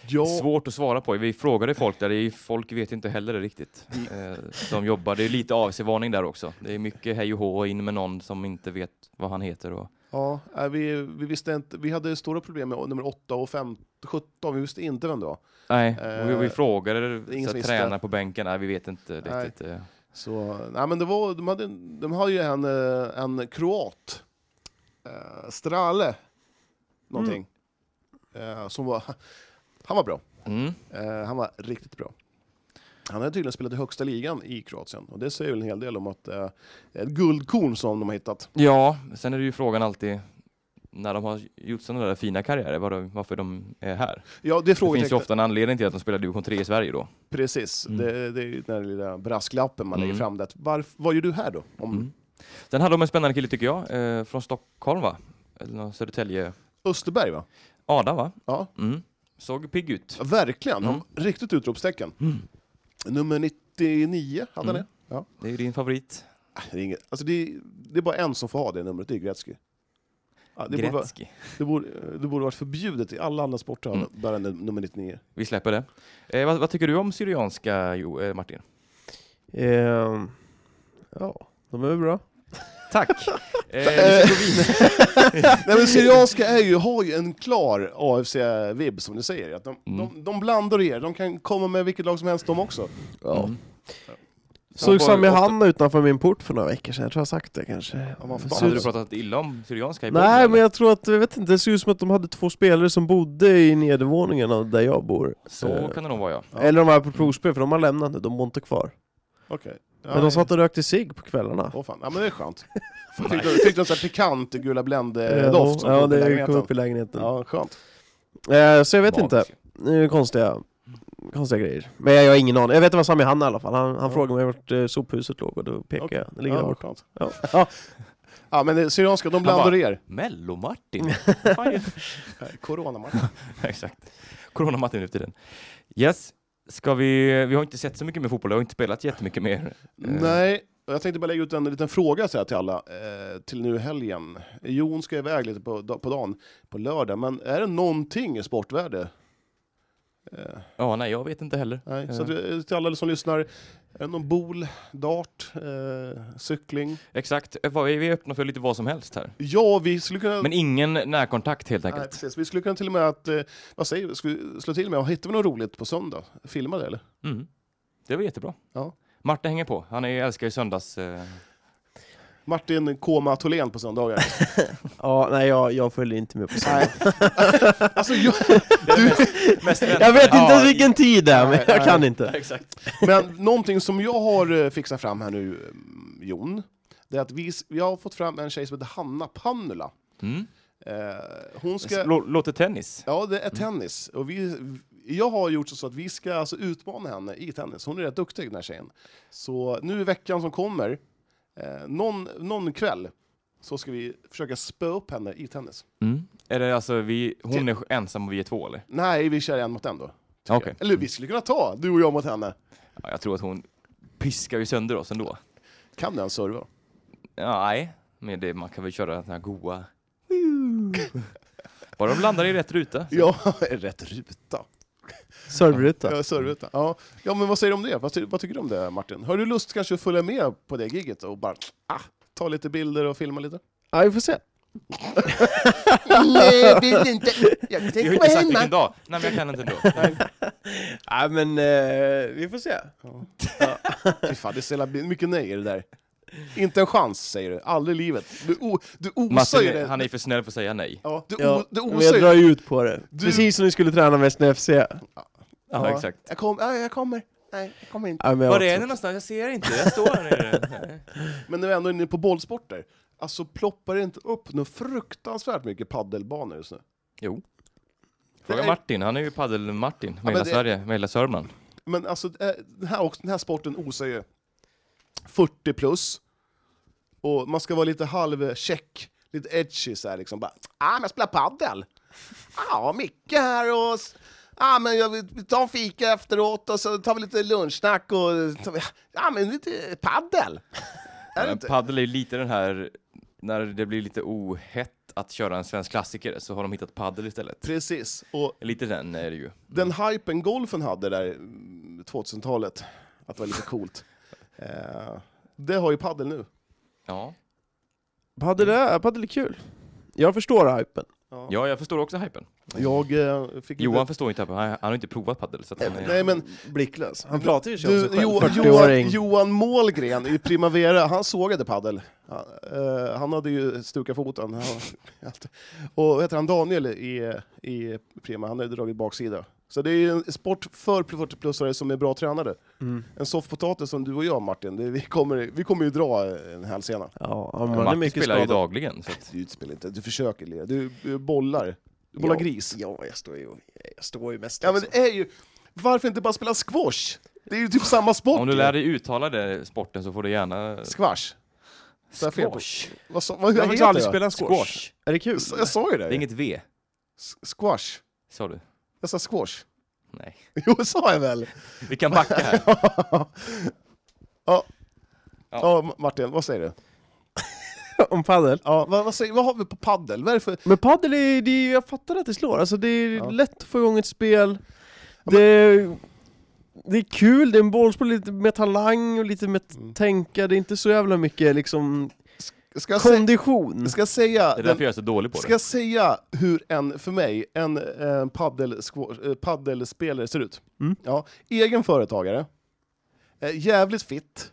Speaker 2: Ja,
Speaker 1: Svårt att svara på. Vi frågade folk där, det är- folk vet inte heller det riktigt. Eh, De jobbar, det är lite avsevarning där också. Det är mycket hej och hå och in med någon som inte vet vad han heter. Och...
Speaker 2: ja nej, vi, vi visste inte, vi hade stora problem med nummer 8 och 5, 17, vi visste inte vem det var.
Speaker 1: Nej,
Speaker 2: Eh,
Speaker 1: vi, vi frågade
Speaker 2: det är ingen
Speaker 1: så
Speaker 2: som
Speaker 1: här,
Speaker 2: visste.
Speaker 1: tränare på bänken, nej vi vet inte
Speaker 2: Nej.
Speaker 1: riktigt. eh.
Speaker 2: Så, nej men det var, de hade, de hade ju en, eh, en kroat, eh, Strale, någonting, eh, som var, han var bra.
Speaker 1: Mm.
Speaker 2: Eh, han var riktigt bra. Han hade tydligen spelat i högsta ligan i Kroatien och det säger väl en hel del om att eh, det är ett guldkorn som de har hittat.
Speaker 1: Ja, sen är det ju frågan alltid när de har gjort sådana där fina karriärer, var de, varför de är här.
Speaker 2: Ja, det är
Speaker 1: Det finns ju
Speaker 2: frågetecknet.
Speaker 1: ofta en anledning till att de spelar division 3 i Sverige då.
Speaker 2: Precis,
Speaker 1: Mm.
Speaker 2: det, det är ju den där lilla brasklappen man lägger
Speaker 1: Mm.
Speaker 2: fram. Det, att, varf, vad gör du här då? Om
Speaker 1: Mm. Sen hade de en spännande kille tycker jag, eh, från Stockholm va? Eller någon Södertälje.
Speaker 2: Österberg va?
Speaker 1: Ada va?
Speaker 2: Ja,
Speaker 1: Mm. Såg pigg ut.
Speaker 2: Ja, verkligen.
Speaker 1: Mm.
Speaker 2: Han- Riktigt utropstecken. Nummer 99 hade han
Speaker 1: Mm.
Speaker 2: det. Ja.
Speaker 1: Det är ju din favorit.
Speaker 2: Ah, Det, är inget, alltså det, är, det är bara en som får ha det numret, det är Gretzky. Ja, det, borde vara,
Speaker 1: Gretzky.
Speaker 2: det, borde, det borde varit förbjudet i alla andra sporter att bära nummer 99.
Speaker 1: Vi släpper det. Eh, vad, vad tycker du om Syrianska jo, eh, Martin?
Speaker 3: Ehm, ja, de är väl bra.
Speaker 1: Tack! eh, vi ska gå vidare.
Speaker 2: Nej men Syrianska är ju, har ju en klar AFC-vibb som du säger. Att de,
Speaker 1: Mm.
Speaker 2: de, de blandar och ger, de kan komma med vilket lag som helst de också.
Speaker 3: Ja.
Speaker 1: Mm.
Speaker 3: Såg
Speaker 1: var
Speaker 3: Sami
Speaker 1: ofta-
Speaker 3: Hanna utanför min port för några veckor sedan, jag tror jag har sagt det kanske.
Speaker 2: Ja, man får
Speaker 1: Fan,
Speaker 2: se.
Speaker 1: Hade du pratat illa om Syrianska i podden,
Speaker 3: Nej
Speaker 1: eller?
Speaker 3: men jag tror att, jag vet inte, det ser ut som att de hade två spelare som bodde i nedervåningen av där jag bor.
Speaker 1: Så kan det nog vara ja.
Speaker 2: Ja.
Speaker 3: Eller de var på provspel, för de har lämnat nu, de bor inte kvar.
Speaker 2: Okej. Ja,
Speaker 3: Men de satt och rökte cigg på kvällarna.
Speaker 2: Åh fan, ja men det är skönt. Fick de, fick de en sån här pikant Gula
Speaker 3: Eh,
Speaker 2: Blend-doft som
Speaker 3: ja,
Speaker 2: kom upp i
Speaker 3: det kom
Speaker 2: lägenheten?
Speaker 3: upp i lägenheten.
Speaker 2: Ja, skönt.
Speaker 3: Eh, så jag vet inte.
Speaker 1: Magisk.
Speaker 3: Det är konstiga, konstiga grejer. Men jag, jag har ingen aning. Jag vet att det var Sami Hanna i alla fall. Han, han frågade mig vart eh, sophuset låg och då pekade
Speaker 2: Okej.
Speaker 3: jag. Det ligger där
Speaker 2: Ja,
Speaker 3: borta.
Speaker 2: skönt.
Speaker 3: Ja.
Speaker 2: Ja men det- Syrianska, de blandar
Speaker 1: bara-
Speaker 2: och ger.
Speaker 1: Mello-Martin? Vad fan gör-
Speaker 2: Coronamatch.
Speaker 1: Exakt. Corona-Martin nu för tiden. Yes. Ska vi, vi har inte sett så mycket med fotboll, jag har inte spelat jättemycket mer.
Speaker 2: Nej, och jag tänkte bara lägga ut en liten fråga så här till alla, eh, till nu i helgen. Jon ska iväg lite på, da- på dagen, på lördag, men är det någonting i sportvärde? Eh,
Speaker 1: Ja, nej, jag vet inte heller.
Speaker 2: nej. Så
Speaker 1: Eh.
Speaker 2: att, vi- till alla som lyssnar, är det någon bol, dart, eh, cykling?
Speaker 1: Exakt, Eh, vad- vi är öppna för lite vad som helst här.
Speaker 2: Ja, vi skulle kunna...
Speaker 1: Men ingen närkontakt helt
Speaker 2: nej,
Speaker 1: enkelt.
Speaker 2: precis. Vi skulle kunna till och med att, eh, vad säger vi, ska vi slå till med, hittar vi något roligt på söndag? Filma det eller?
Speaker 1: Mm. Det var jättebra.
Speaker 2: Ja.
Speaker 1: Martin hänger på, han är, älskar ju söndags... Eh,
Speaker 2: Martin Koma Tholén på söndagar.
Speaker 3: Ja, nej jag, jag följer inte med på sånt.
Speaker 2: alltså, jag,
Speaker 1: mest
Speaker 3: Jag vet inte ens
Speaker 1: Ja,
Speaker 3: vilken tid det är, men
Speaker 2: Nej,
Speaker 3: jag
Speaker 2: nej.
Speaker 3: kan inte.
Speaker 1: Exakt.
Speaker 2: Men någonting som jag har eh, fixat fram här nu, eh, Jon, det är att vi, s- vi har fått fram en tjej som heter Hanna Pannula.
Speaker 1: Mm.
Speaker 2: Eh, hon ska...
Speaker 1: Lå- Låter tennis.
Speaker 2: Ja, det är tennis. Och vi, jag har gjort så att vi ska alltså utmana henne i tennis. Hon är rätt duktig, den här tjejen. Så nu i veckan som kommer, eh, någon, någon kväll, så ska vi försöka spöa upp henne i tennis.
Speaker 1: Mm. Är det alltså, vi, hon är ensam och vi är två eller?
Speaker 2: Nej, vi kör en mot en då. tycker
Speaker 1: Okej.
Speaker 2: jag. Eller vi skulle kunna ta du och jag mot henne.
Speaker 1: Ja, jag tror att hon piskar ju sönder oss ändå.
Speaker 2: Kan du ens serva?
Speaker 1: Ja, nej, men det, man kan väl köra den här goa... Bara de landar i rätt ruta.
Speaker 2: Ja, rätt ruta.
Speaker 3: Serverruta.
Speaker 2: Ja, servruta. Ja. ja, men vad säger du om det? Vad, ty vad tycker du om det, Martin? Har du lust kanske att följa med på det giget och bara ah, ta lite bilder och filma lite?
Speaker 3: Ja, vi får se.
Speaker 2: Nej, vill inte. Jag
Speaker 1: Vi har ju inte sagt vilken dag. Nej, men jag kan inte ändå.
Speaker 3: Nej men eh, vi får se.
Speaker 2: Fy fan, det är så jävla mycket nej i det där. Inte en chans, säger du. Aldrig i livet. Du, o- du osar ju
Speaker 1: Martin,
Speaker 2: det.
Speaker 1: han är ju för snäll för att säga nej.
Speaker 2: Ja, du, o-
Speaker 3: Ja,
Speaker 2: du
Speaker 3: men jag
Speaker 2: osar
Speaker 3: drar
Speaker 2: ju.
Speaker 3: ju ut på det.
Speaker 2: Du-
Speaker 3: Precis som ni skulle träna med sin FC. Nej,
Speaker 1: Ja, exakt.
Speaker 2: Jag, kom, ja, jag kommer. Nej, jag kommer inte.
Speaker 3: men jag
Speaker 1: Var
Speaker 3: var
Speaker 1: är ni
Speaker 3: trött.
Speaker 1: någonstans? Jag ser inte, jag står här nere.
Speaker 2: Men nu är vi ändå inne på bollsporter. Alltså ploppar det inte upp något fruktansvärt mycket paddelbanor just nu?
Speaker 1: Jo.
Speaker 2: Det
Speaker 1: Fråga
Speaker 2: är-
Speaker 1: Martin, han är ju padel-Martin med
Speaker 2: men
Speaker 1: hela
Speaker 2: det-
Speaker 1: Sverige, med hela Sörmland.
Speaker 2: Men alltså, eh, den här, också- den här sporten osar ju 40 plus, Och man ska vara lite halvcheck, lite edgy så här liksom. Bara, ah, men jag spelar padel. Ja, ah, Micke här och... s- ah, men jag, vi tar en fika efteråt och så tar vi lite lunchsnack och... tar vi- ah, men lite padel. Är det
Speaker 1: Ja,
Speaker 2: inte?
Speaker 1: Padel är ju lite den här, när det blir lite ohett att köra en svensk klassiker så har de hittat padel istället.
Speaker 2: Precis. Och
Speaker 1: Lite den är det ju.
Speaker 2: den hypen golfen hade där mm, 2000-talet, att det var lite coolt. eh, det har ju padel nu.
Speaker 1: Ja,
Speaker 3: Padel är, padel är kul. Jag förstår hypen.
Speaker 1: ja jag förstår också hypen.
Speaker 2: Jag eh, fick
Speaker 1: Johan förstår inte, hypen, han, han har inte provat padel. Så att han,
Speaker 2: lite...
Speaker 1: är-
Speaker 2: Nej, men
Speaker 3: Blicklös. Han pratar ju
Speaker 2: Du, Johan,
Speaker 3: 40-åring.
Speaker 2: Johan, Johan Målgren i Primavera, han sågade padel. Han, eh, han hade ju stukat foten. Han- Och vad heter han Daniel i, i Prima, han har ju dragit baksida. Så det är ju en sport för 40-plussare som är bra tränade.
Speaker 3: Mm.
Speaker 2: En soffpotatis som du och jag Martin, det, vi, kommer, vi kommer ju dra en hälsena.
Speaker 3: Ja, han är
Speaker 1: Martin
Speaker 3: mycket
Speaker 1: spelar ju
Speaker 3: skadad.
Speaker 1: dagligen. Så att,
Speaker 2: Du spelar inte, du försöker lira, du, du bollar. Du bollar
Speaker 3: Ja,
Speaker 2: gris.
Speaker 3: Ja, jag står ju, jag står ju mest
Speaker 2: Ja men
Speaker 3: liksom.
Speaker 2: det är ju, varför inte bara spela squash? Det är ju typ samma sport.
Speaker 1: om du
Speaker 2: ju.
Speaker 1: lär dig uttala det sporten så får du gärna...
Speaker 2: Squash. Så jag fel på-
Speaker 1: Squash.
Speaker 2: Vad, sa, vad
Speaker 3: Jag har
Speaker 2: heter
Speaker 3: faktiskt aldrig
Speaker 2: jag?
Speaker 3: spelat squash.
Speaker 1: Squash.
Speaker 3: Är det kul?
Speaker 2: S- Jag sa ju det.
Speaker 1: Det är inget V,
Speaker 2: S- Squash.
Speaker 1: sa du?
Speaker 2: Jag sa squash.
Speaker 1: Nej.
Speaker 2: Jo, sa jag väl?
Speaker 1: Vi kan backa här.
Speaker 2: Ja. Ja, Ma- Martin, vad säger du?
Speaker 3: Om padel?
Speaker 2: Ja, vad, vad, säger, vad har vi på paddel? Vad är det för...
Speaker 3: Men padel är, det är ju- jag fattar att det slår, alltså det är
Speaker 2: Ja.
Speaker 3: lätt att få igång ett spel. Det är, det är kul, det är en bollspel lite med talang och lite med t- tänka, det är inte så jävla mycket liksom
Speaker 2: Ska jag, sä,
Speaker 3: kondition.
Speaker 2: ska jag säga...
Speaker 1: Det är
Speaker 2: den-
Speaker 1: därför jag är så dålig på
Speaker 2: Ska
Speaker 1: det.
Speaker 2: jag säga hur en, för mig, en, en paddel, squash, eh, paddelspelare ser ut?
Speaker 3: Mm.
Speaker 2: Ja, egen företagare, eh, jävligt fit,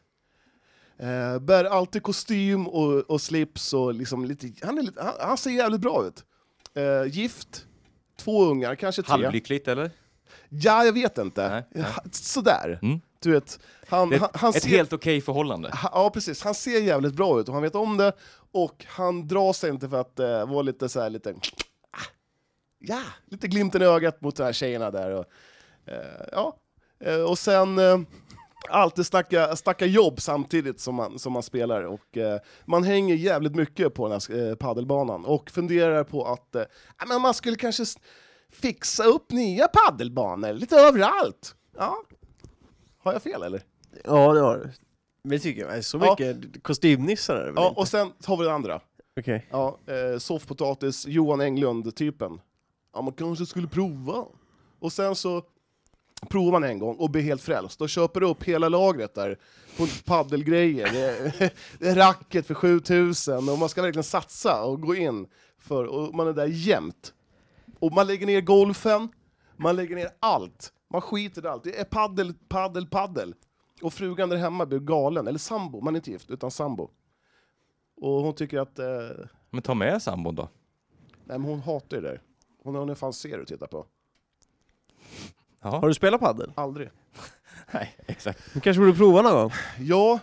Speaker 2: eh, bär alltid kostym och, och slips och liksom lite, han, är lite han, han ser jävligt bra ut. Eh, gift, två ungar, kanske tre.
Speaker 1: Halvlyckligt eller?
Speaker 2: Ja, jag vet inte.
Speaker 1: Nej, nej.
Speaker 2: Ha- Sådär.
Speaker 1: Mm.
Speaker 2: Du vet, han,
Speaker 1: Det är
Speaker 2: han, han
Speaker 1: ett
Speaker 2: ser...
Speaker 1: helt okej förhållande.
Speaker 2: Ha- Ja, precis. Han ser jävligt bra ut och han vet om det. Och han drar sig inte för att eh, vara lite så här, lite... ah, Ja, lite glimten i ögat mot de här tjejerna där. Och, eh, ja. Eh, och sen eh, alltid snacka, snacka jobb samtidigt som man, som man spelar. Och, eh, man hänger jävligt mycket på den här eh, paddelbanan och funderar på att eh, ja, men man skulle kanske s- fixa upp nya paddelbanor lite överallt. Ja. Har jag fel eller?
Speaker 3: Ja det har du. Men det tycker jag, nej, så
Speaker 2: Ja.
Speaker 3: mycket kostymnissar är det väl
Speaker 2: Ja,
Speaker 3: inte?
Speaker 2: och sen tar vi den andra.
Speaker 3: Okej.
Speaker 2: Ja, eh, soffpotatis, Johan Englund-typen. Ja, man kanske skulle prova. Och sen så provar man en gång och blir helt frälst. Då köper du upp hela lagret där på paddelgrejer. Det är, det är racket för 7000 och man ska verkligen satsa och gå in. För, och man är där jämt. Och man lägger ner golfen, man lägger ner allt. Man skiter i allt. Det är paddel, paddel, paddel. Och frugan där hemma blir galen, eller sambo, man är inte gift, utan sambo. Och hon tycker att eh,
Speaker 1: Men ta med sambon då.
Speaker 2: Nej men hon hatar ju det där. Hon hon är fan ser och tittar på.
Speaker 3: Har du spelat padel?
Speaker 2: Aldrig.
Speaker 1: Nej, exakt.
Speaker 3: Du kanske borde prova någon gång?
Speaker 2: Ja,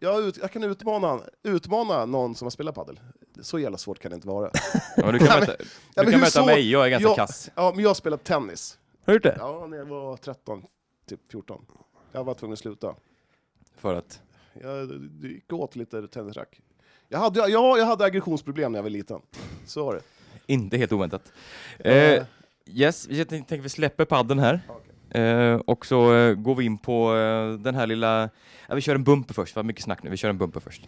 Speaker 2: jag, ut, jag kan utmana, utmana någon som har spelat padel. Så jävla svårt kan det inte vara.
Speaker 1: Ja, men du kan möta,
Speaker 2: men
Speaker 1: du
Speaker 2: hur
Speaker 1: kan möta
Speaker 2: så?
Speaker 1: mig, jag är ganska
Speaker 2: Ja.
Speaker 1: kass.
Speaker 2: Ja, men jag har spelat tennis.
Speaker 3: Har du gjort det?
Speaker 2: Ja, när jag var 13, typ 14. Jag var tvungen att sluta.
Speaker 1: För att...
Speaker 2: Jag, det- det gick åt lite tennisrack. Jag hade, ja, jag hade aggressionsproblem när jag var liten. Så var det.
Speaker 1: Inte helt oväntat.
Speaker 2: Eh.
Speaker 1: Eh, yes, jag tänk- tänker vi släpper padden här. Eh, och så eh, går vi in på eh, den här lilla... Ja, vi kör en bumper först, vad mycket snack nu. Vi kör en bumper först.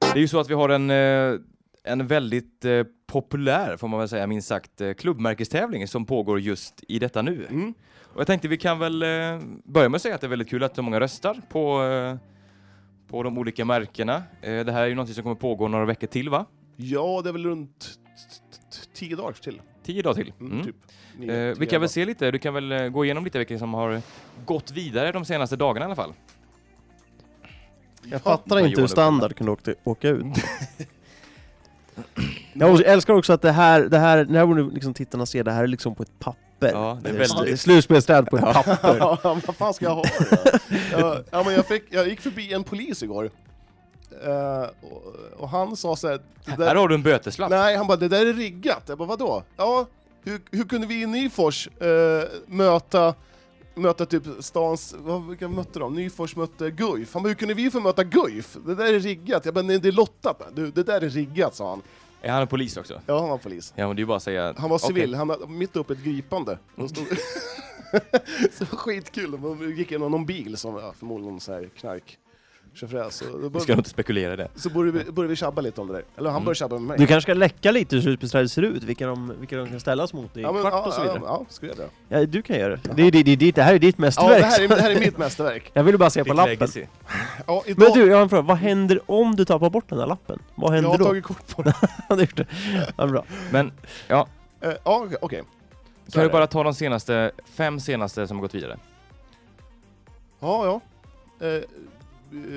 Speaker 1: Det är ju så att vi har en, eh, en väldigt eh, populär, får man väl säga minst sagt, eh, klubbmärkestävling som pågår just i detta nu.
Speaker 2: Mm.
Speaker 1: Och jag tänkte vi kan väl eh, börja med att säga att det är väldigt kul att så många röstar på, eh, på de olika märkena. Eh, det här är ju någonting som kommer pågå några veckor till va?
Speaker 2: Ja, det är väl runt t- t- t- tio dagar till.
Speaker 1: Tio dagar till.
Speaker 2: Mm,
Speaker 1: Mm.
Speaker 2: Typ. Nio,
Speaker 1: Eh, vi
Speaker 2: tio,
Speaker 1: kan
Speaker 2: elva.
Speaker 1: väl se lite, du kan väl eh, gå igenom lite vilka som har gått vidare de senaste dagarna i alla fall.
Speaker 3: Jag
Speaker 1: vad
Speaker 3: fattar inte hur
Speaker 1: Johan
Speaker 3: standard kunde åka, åka ut. Mm. jag också- älskar också att det här, det här, när borde liksom tittarna se, det här är liksom på ett papper.
Speaker 1: Ja, det är
Speaker 3: sl-
Speaker 1: väldigt-
Speaker 3: Slutspelsstäd på ett papper.
Speaker 2: Ja, vad fan ska jag ha det ja, ja, men jag, fick, jag gick förbi en polis igår. Eh, och, och han sa så här, det
Speaker 1: Här
Speaker 2: där,
Speaker 1: har du en böteslapp.
Speaker 2: Nej, han bara, det där är riggat. Jag bara, vadå? Ja, hur, hur kunde vi i Nyfors eh, möta möta typ stans, vad, vilka mötte de? Nyfors mötte Guif. Han bara, hur kunde vi få möta Guif? Det där är riggat. Jag bara, nej det är lottat. Du, det där är riggat, sa han.
Speaker 1: Är han polis också?
Speaker 2: Ja, han var polis.
Speaker 1: Ja, men det är ju bara att säga...
Speaker 2: Han var
Speaker 1: okej. Mm.
Speaker 2: civil, han var mitt uppe i ett gripande. De stod... så det var skitkul, de gick igenom någon bil som var förmodligen någon så här knark. Tjofräs. Så då
Speaker 1: Vi ska nog
Speaker 2: började,
Speaker 1: inte spekulera i det. Mm.
Speaker 2: så började, vi, började vi tjabba lite om det där. Eller han började tjabba med mig.
Speaker 3: Du kanske ska läcka lite hur slutspelsträdet ser ut, vilka de, vilka de kan ställas mot i
Speaker 2: ja, men,
Speaker 3: kvart
Speaker 2: ja,
Speaker 3: och så
Speaker 2: ja,
Speaker 3: vidare.
Speaker 2: ja, ska jag göra det?
Speaker 3: Ja, du kan göra det. Det, är- det, det, det, det här är ditt
Speaker 2: Ja,
Speaker 3: mästerverk.
Speaker 2: det här, är, det här är mitt mästerverk.
Speaker 3: Jag ville bara se på
Speaker 1: Ditt
Speaker 3: lappen.
Speaker 1: legacy.
Speaker 2: Ja, idag,
Speaker 3: Men du, jag har en fråga. Vad händer om du tappar bort den här lappen? Vad
Speaker 2: jag
Speaker 3: händer
Speaker 2: har
Speaker 3: då?
Speaker 2: tagit kort på det.
Speaker 3: Han har gjort det. Ja, bra.
Speaker 1: Men
Speaker 2: Eh, Ja, okej. okej. Så
Speaker 1: kan
Speaker 2: är
Speaker 1: du
Speaker 2: det.
Speaker 1: bara ta de senaste, fem senaste som har gått vidare?
Speaker 2: Ja, ja. Eh,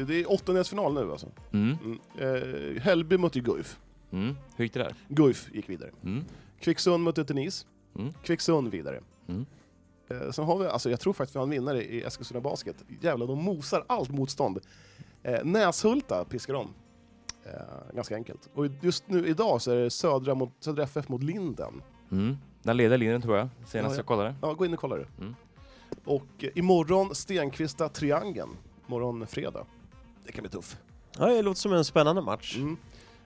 Speaker 2: Det är åttondelsfinal nu alltså.
Speaker 1: Mm.
Speaker 2: Mm. Eh, Hällby mötte ju Guif.
Speaker 1: Mm. Hur gick det där?
Speaker 2: Guif gick vidare.
Speaker 1: Mm.
Speaker 2: Kvicksund mötte Tunis.
Speaker 1: Mm.
Speaker 2: Kvicksund vidare.
Speaker 1: Mm.
Speaker 2: Eh, sen har vi, alltså jag tror faktiskt vi har en vinnare i Eskilstuna Basket. Jävlar, de mosar allt motstånd. Eh, Näshulta piskar de. Eh, ganska enkelt. Och just nu idag så är det Södra, mot, södra FF mot Linden.
Speaker 1: Mm. Den leder linjen tror jag, senast
Speaker 2: Ja, ja.
Speaker 1: jag kollade.
Speaker 2: Ja, gå in och kolla det.
Speaker 1: Mm.
Speaker 2: Och eh, imorgon Stenkvista Triangeln. Morgon fredag. Det kan bli tuff.
Speaker 3: Ja, det låter som en spännande match.
Speaker 2: Mm.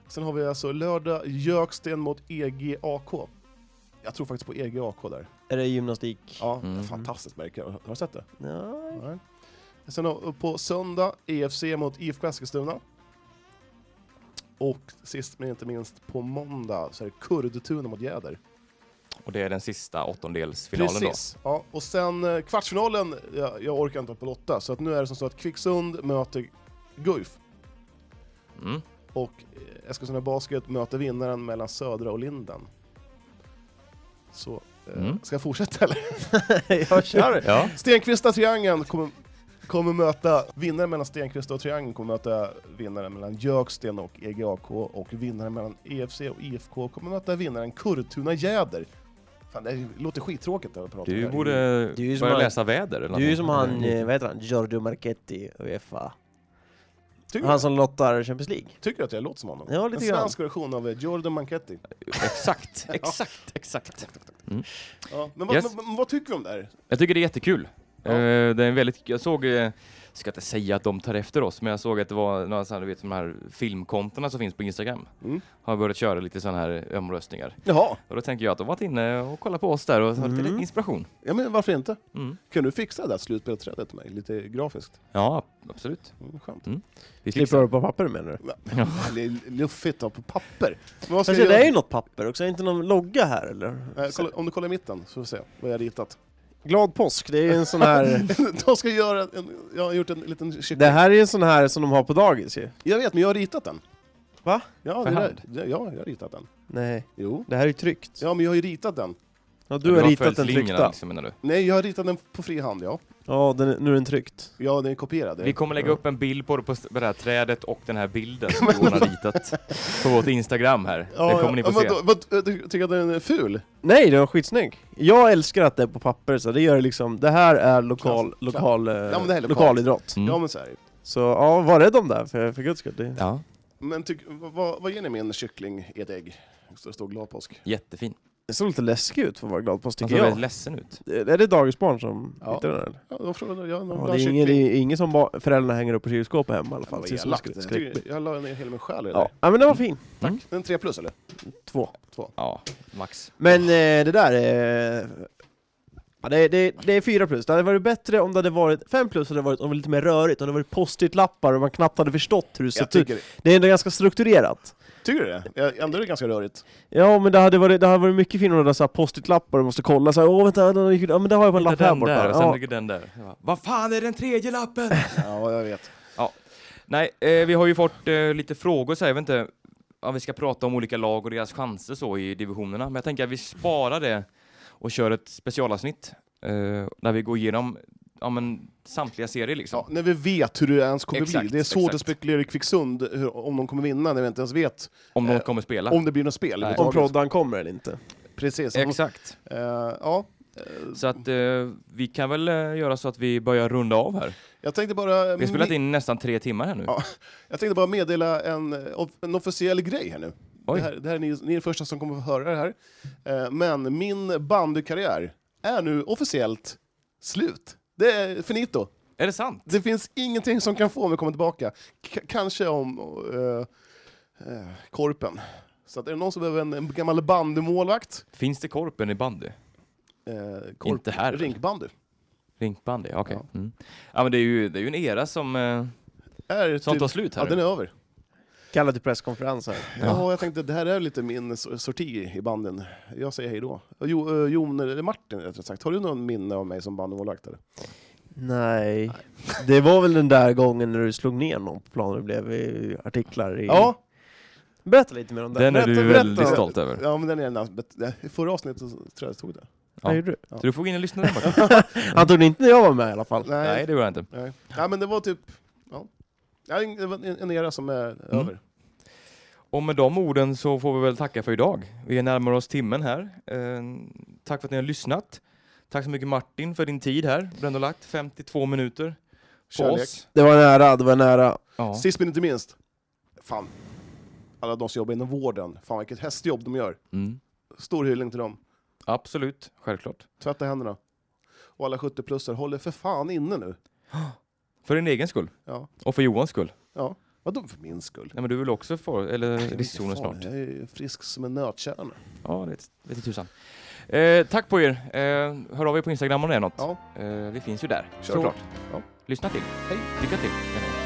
Speaker 2: Sen har vi alltså lördag Jöksten mot E EGAK. Jag tror faktiskt på E EGAK där.
Speaker 3: Är det gymnastik?
Speaker 2: Ja,
Speaker 1: Mm.
Speaker 2: fantastiskt märke. Har du sett det?
Speaker 3: Nej.
Speaker 2: Nej. Sen har, på söndag EFC mot IFK Eskilstuna. Och sist men inte minst på måndag så är det Kurdtuna mot Jäder.
Speaker 1: Och det är den sista åttondelsfinalen
Speaker 2: Ja, och sen eh, kvartsfinalen, jag, jag orkar inte på Lotta, så att nu är det som så att Kvicksund möter Guif
Speaker 1: då. Mm.
Speaker 2: och eh, Eskilstuna Basket möter vinnaren mellan Södra och Linden. Så, eh,
Speaker 1: Mm.
Speaker 2: ska jag fortsätta eller?
Speaker 3: jag kör.
Speaker 1: Ja.
Speaker 2: Stenkvista Triangeln kommer, kommer möta vinnaren mellan Stenkvista och Triangeln kommer möta vinnaren mellan Jöksten och E EGAK och vinnaren mellan EFC och IFK kommer möta vinnaren Kurtuna Jäder. Fan, det här låter skittråkigt att prata om det
Speaker 1: Du
Speaker 2: här.
Speaker 1: borde
Speaker 3: ju som
Speaker 1: börja
Speaker 3: han-
Speaker 1: läsa väder eller
Speaker 3: Du är ju som
Speaker 1: någonting.
Speaker 3: han, eh, vad heter han, Giorgio Marchetti, Uefa.
Speaker 2: Tycker,
Speaker 3: Han som lottar Champions League.
Speaker 2: tycker du att jag låter som honom?
Speaker 3: Ja, lite
Speaker 2: en
Speaker 3: grann.
Speaker 2: svensk version av eh, Jordan Manchetti.
Speaker 1: Exakt, exakt, exakt.
Speaker 2: Ja, men vad,
Speaker 1: Yes.
Speaker 2: men vad tycker vi om det här?
Speaker 1: Jag tycker det är jättekul.
Speaker 2: Ja.
Speaker 1: Eh, Det är en väldigt, jag såg, eh, ska inte säga att de tar efter oss, men jag såg att det var några sådana, du vet, de här filmkontona som finns på Instagram.
Speaker 2: Mm.
Speaker 1: Har börjat köra lite sådana här omröstningar.
Speaker 2: Jaha,
Speaker 1: Och då tänker jag att de har varit inne och kollat på oss där och har lite
Speaker 3: Mm.
Speaker 1: inspiration.
Speaker 2: ja, men varför inte?
Speaker 1: Mm.
Speaker 2: Kan du fixa det där slutspelsträdet till mig, lite grafiskt?
Speaker 1: Ja, absolut.
Speaker 2: Mm, skönt.
Speaker 1: Vi
Speaker 3: Klipper
Speaker 1: fixar.
Speaker 3: du på papper menar du?
Speaker 1: Ja.
Speaker 2: Det är luffigt då, på papper. Men vad ska
Speaker 3: Fast Alltså, det
Speaker 2: jag göra?
Speaker 3: är ju något papper också, är inte någon logga här eller?
Speaker 2: Eh, kolla, om du kollar i mitten så får vi se vad jag har ritat.
Speaker 3: Glad påsk, det är ju en sån här...
Speaker 2: De ska göra en, jag har gjort en liten kyckling.
Speaker 3: det här är ju en sån här som de har på dagis ju.
Speaker 2: Jag vet, men jag har ritat den.
Speaker 3: Va?
Speaker 2: Ja,
Speaker 1: För
Speaker 2: det där,
Speaker 1: hand?
Speaker 2: ja, jag har ritat den.
Speaker 3: Nej,
Speaker 2: Jo.
Speaker 3: det här är ju tryckt.
Speaker 2: Ja, men jag har ju ritat den.
Speaker 3: Ja, du
Speaker 1: Du
Speaker 3: har
Speaker 1: har
Speaker 3: ritat
Speaker 1: följt
Speaker 3: den
Speaker 1: linjerna,
Speaker 3: tryckta.
Speaker 1: Liksom, menar du?
Speaker 2: Nej, jag har ritat den på fri hand, ja.
Speaker 3: Ja, den, är- nu är den tryckt.
Speaker 2: Ja, den är kopierad.
Speaker 1: Vi kommer lägga upp en bild på det, på s- på det här trädet och den här bilden som Johan har ritat på vårt Instagram här.
Speaker 2: ja,
Speaker 1: det kommer ni få
Speaker 2: ja, men
Speaker 1: se.
Speaker 2: då- Vad, du tycker att den är ful?
Speaker 3: Nej, den var skitsnygg! Jag älskar att det är på papper, så det gör det liksom... Det här är lokal,
Speaker 2: Klass.
Speaker 3: lokal, eh,
Speaker 2: men det här är lokalt.
Speaker 3: lokalidrott.
Speaker 1: Mm.
Speaker 2: Ja, men så är det.
Speaker 3: Så ja, var rädd om det här, för, för guds skull. Det...
Speaker 1: Ja,
Speaker 2: Men tyck, vad, vad ger ni min kyckling i ett ägg? Så det står glad påsk.
Speaker 1: jättefin.
Speaker 3: det såg lite läskigt ut för att vara glad påsk
Speaker 1: Han
Speaker 3: tycker
Speaker 1: såg väldigt
Speaker 3: jag.
Speaker 1: ledsen ut.
Speaker 3: Eh, Är det dagisbarn som
Speaker 2: Alltså, Ja.
Speaker 3: hittar den här, eller?
Speaker 2: Ja, då frågar jag, jag,
Speaker 3: Ja,
Speaker 2: jag
Speaker 3: det, är ingen, det är ingen som ba- föräldrarna hänger upp på kylskåpet hemma i alla
Speaker 2: Fan,
Speaker 3: fall.
Speaker 2: vad
Speaker 3: Det är som
Speaker 2: elakt.
Speaker 3: skräck-
Speaker 2: Jag,
Speaker 3: skräck-
Speaker 2: tycker- jag la ner hela min själ i det
Speaker 3: ja.
Speaker 2: där.
Speaker 3: ja men den var fin.
Speaker 2: Den är tre plus, eller?
Speaker 3: Två.
Speaker 1: Ja, max.
Speaker 3: Men eh, det där är... Ja, det, det, det är fyra plus. Det hade varit bättre om det hade varit... Fem plus hade det varit om det var lite mer rörigt, om det hade varit post-it-lappar och man knappt hade förstått hur det
Speaker 2: Jag
Speaker 3: sett ut.
Speaker 2: tycker,
Speaker 3: Det är ändå ganska strukturerat.
Speaker 2: tycker du det? Jag, ändå är det ganska rörigt.
Speaker 3: Ja men det hade varit, det hade varit mycket finare om det hade så här post-it-lappar och måste kolla såhär åh vänta, den gick- ja, men det har jag på en lapp här
Speaker 1: den
Speaker 3: borta.
Speaker 1: där och sen
Speaker 3: Ja.
Speaker 1: ligger den där. Jag bara, Vad fan är den tredje lappen?
Speaker 2: Ja, jag vet.
Speaker 1: Nej, eh, vi har ju fått eh, lite frågor så här, jag vet inte ja, vi ska prata om olika lag och deras chanser så i divisionerna. Men jag tänker att vi sparar det och kör ett specialavsnitt eh, där vi går igenom ja, men, samtliga serier liksom.
Speaker 2: Ja, när vi vet hur det ens kommer bli.
Speaker 1: Exakt,
Speaker 2: Det är svårt
Speaker 1: exakt.
Speaker 2: att spekulera i Kvicksund hur, om de kommer vinna när vi inte ens vet
Speaker 1: Om de
Speaker 2: Eh,
Speaker 1: kommer spela.
Speaker 2: om det blir något spel.
Speaker 1: Nej.
Speaker 3: Om
Speaker 2: överhuvudtaget.
Speaker 3: proddan kommer eller inte.
Speaker 2: Precis. Om,
Speaker 1: Exakt.
Speaker 2: eh, ja.
Speaker 1: Så att eh, vi kan väl eh, göra så att vi börjar runda av här.
Speaker 2: Jag tänkte bara...
Speaker 1: Vi har spelat in nästan tre timmar här nu.
Speaker 2: Ja. Jag tänkte bara meddela en, eh, off- en officiell grej här nu.
Speaker 1: Oj.
Speaker 2: Det här, det här är ni, ni är de första som kommer att få höra det här. Eh, Men min bandykarriär är nu officiellt slut. Det är finito.
Speaker 1: Är det sant?
Speaker 2: Det finns ingenting som kan få mig att komma tillbaka. K- kanske om eh, eh, korpen. Så att är det någon som behöver en, en gammal bandymålvakt?
Speaker 1: Finns det korpen i bandy?
Speaker 2: Eh,
Speaker 1: Inte här.
Speaker 2: Rinkbandy.
Speaker 1: Rinkbandy, okej.
Speaker 2: Ja.
Speaker 1: Mm. Ja men det är ju, det är ju en era som, eh,
Speaker 2: Är
Speaker 1: som
Speaker 2: typ-
Speaker 1: tar slut
Speaker 2: Ja,
Speaker 1: här.
Speaker 2: den är över.
Speaker 3: Kalla till presskonferens här.
Speaker 2: Ja. jag tänkte det här är lite min so- sorti i banden. Jag säger hej då. Jo, eh, Jon, eller Martin rättare sagt, har du någon minne av mig som bandymålvakt? eller?
Speaker 3: Nej. Det var väl den där gången när du slog ner någon på planen och det blev eh, artiklar
Speaker 1: Mm.
Speaker 3: i...
Speaker 2: Ja,
Speaker 3: Berätta lite mer om det.
Speaker 1: Den är
Speaker 2: Berätta,
Speaker 1: du
Speaker 2: berätta.
Speaker 1: väldigt stolt över.
Speaker 2: ja men den är den där. I förra avsnittet så tror jag jag tog det.
Speaker 1: Ja.
Speaker 3: Vad gjorde du?
Speaker 1: Så du får gå in och lyssna där Martin.
Speaker 3: Han tog det inte när jag var med i alla fall.
Speaker 2: Nej,
Speaker 1: Nej det gör jag inte.
Speaker 2: Nej. Ja, men det var typ... Ja. Ja, en- Det var en en era som är
Speaker 1: Mm.
Speaker 2: över.
Speaker 1: Och med de orden så får vi väl tacka för idag. Vi närmar oss timmen här. Eh, tack för att ni har lyssnat. Tack så mycket Martin för din tid här. Du har ändå lagt 52 minuter på
Speaker 2: Kärlek.
Speaker 1: oss.
Speaker 3: Det var nära, det var nära.
Speaker 1: Ja.
Speaker 2: Sist men inte minst. Fan. Alla de som jobbar inom vården. Fan vilket hästjobb de gör.
Speaker 1: Mm.
Speaker 2: Stor hyllning till dem.
Speaker 1: Absolut, självklart.
Speaker 2: Tvätta händerna. Och alla 70-plussare, håller för fan inne nu.
Speaker 1: För din egen skull.
Speaker 2: Ja.
Speaker 1: Och för Johans skull.
Speaker 2: Ja. Vadå för min skull?
Speaker 1: Nej men du vill också få, eller riskzonen
Speaker 2: Fan,
Speaker 1: snart.
Speaker 2: Jag är ju frisk som en nötkärna.
Speaker 1: Ja, det vete tusan. Eh, tack på er. Eh, hör av er på Instagram om det är något.
Speaker 2: Ja.
Speaker 1: Eh, vi finns ju där.
Speaker 2: Kör klart. Ja.
Speaker 1: Lyssna till.
Speaker 2: Hej.
Speaker 1: Lycka till.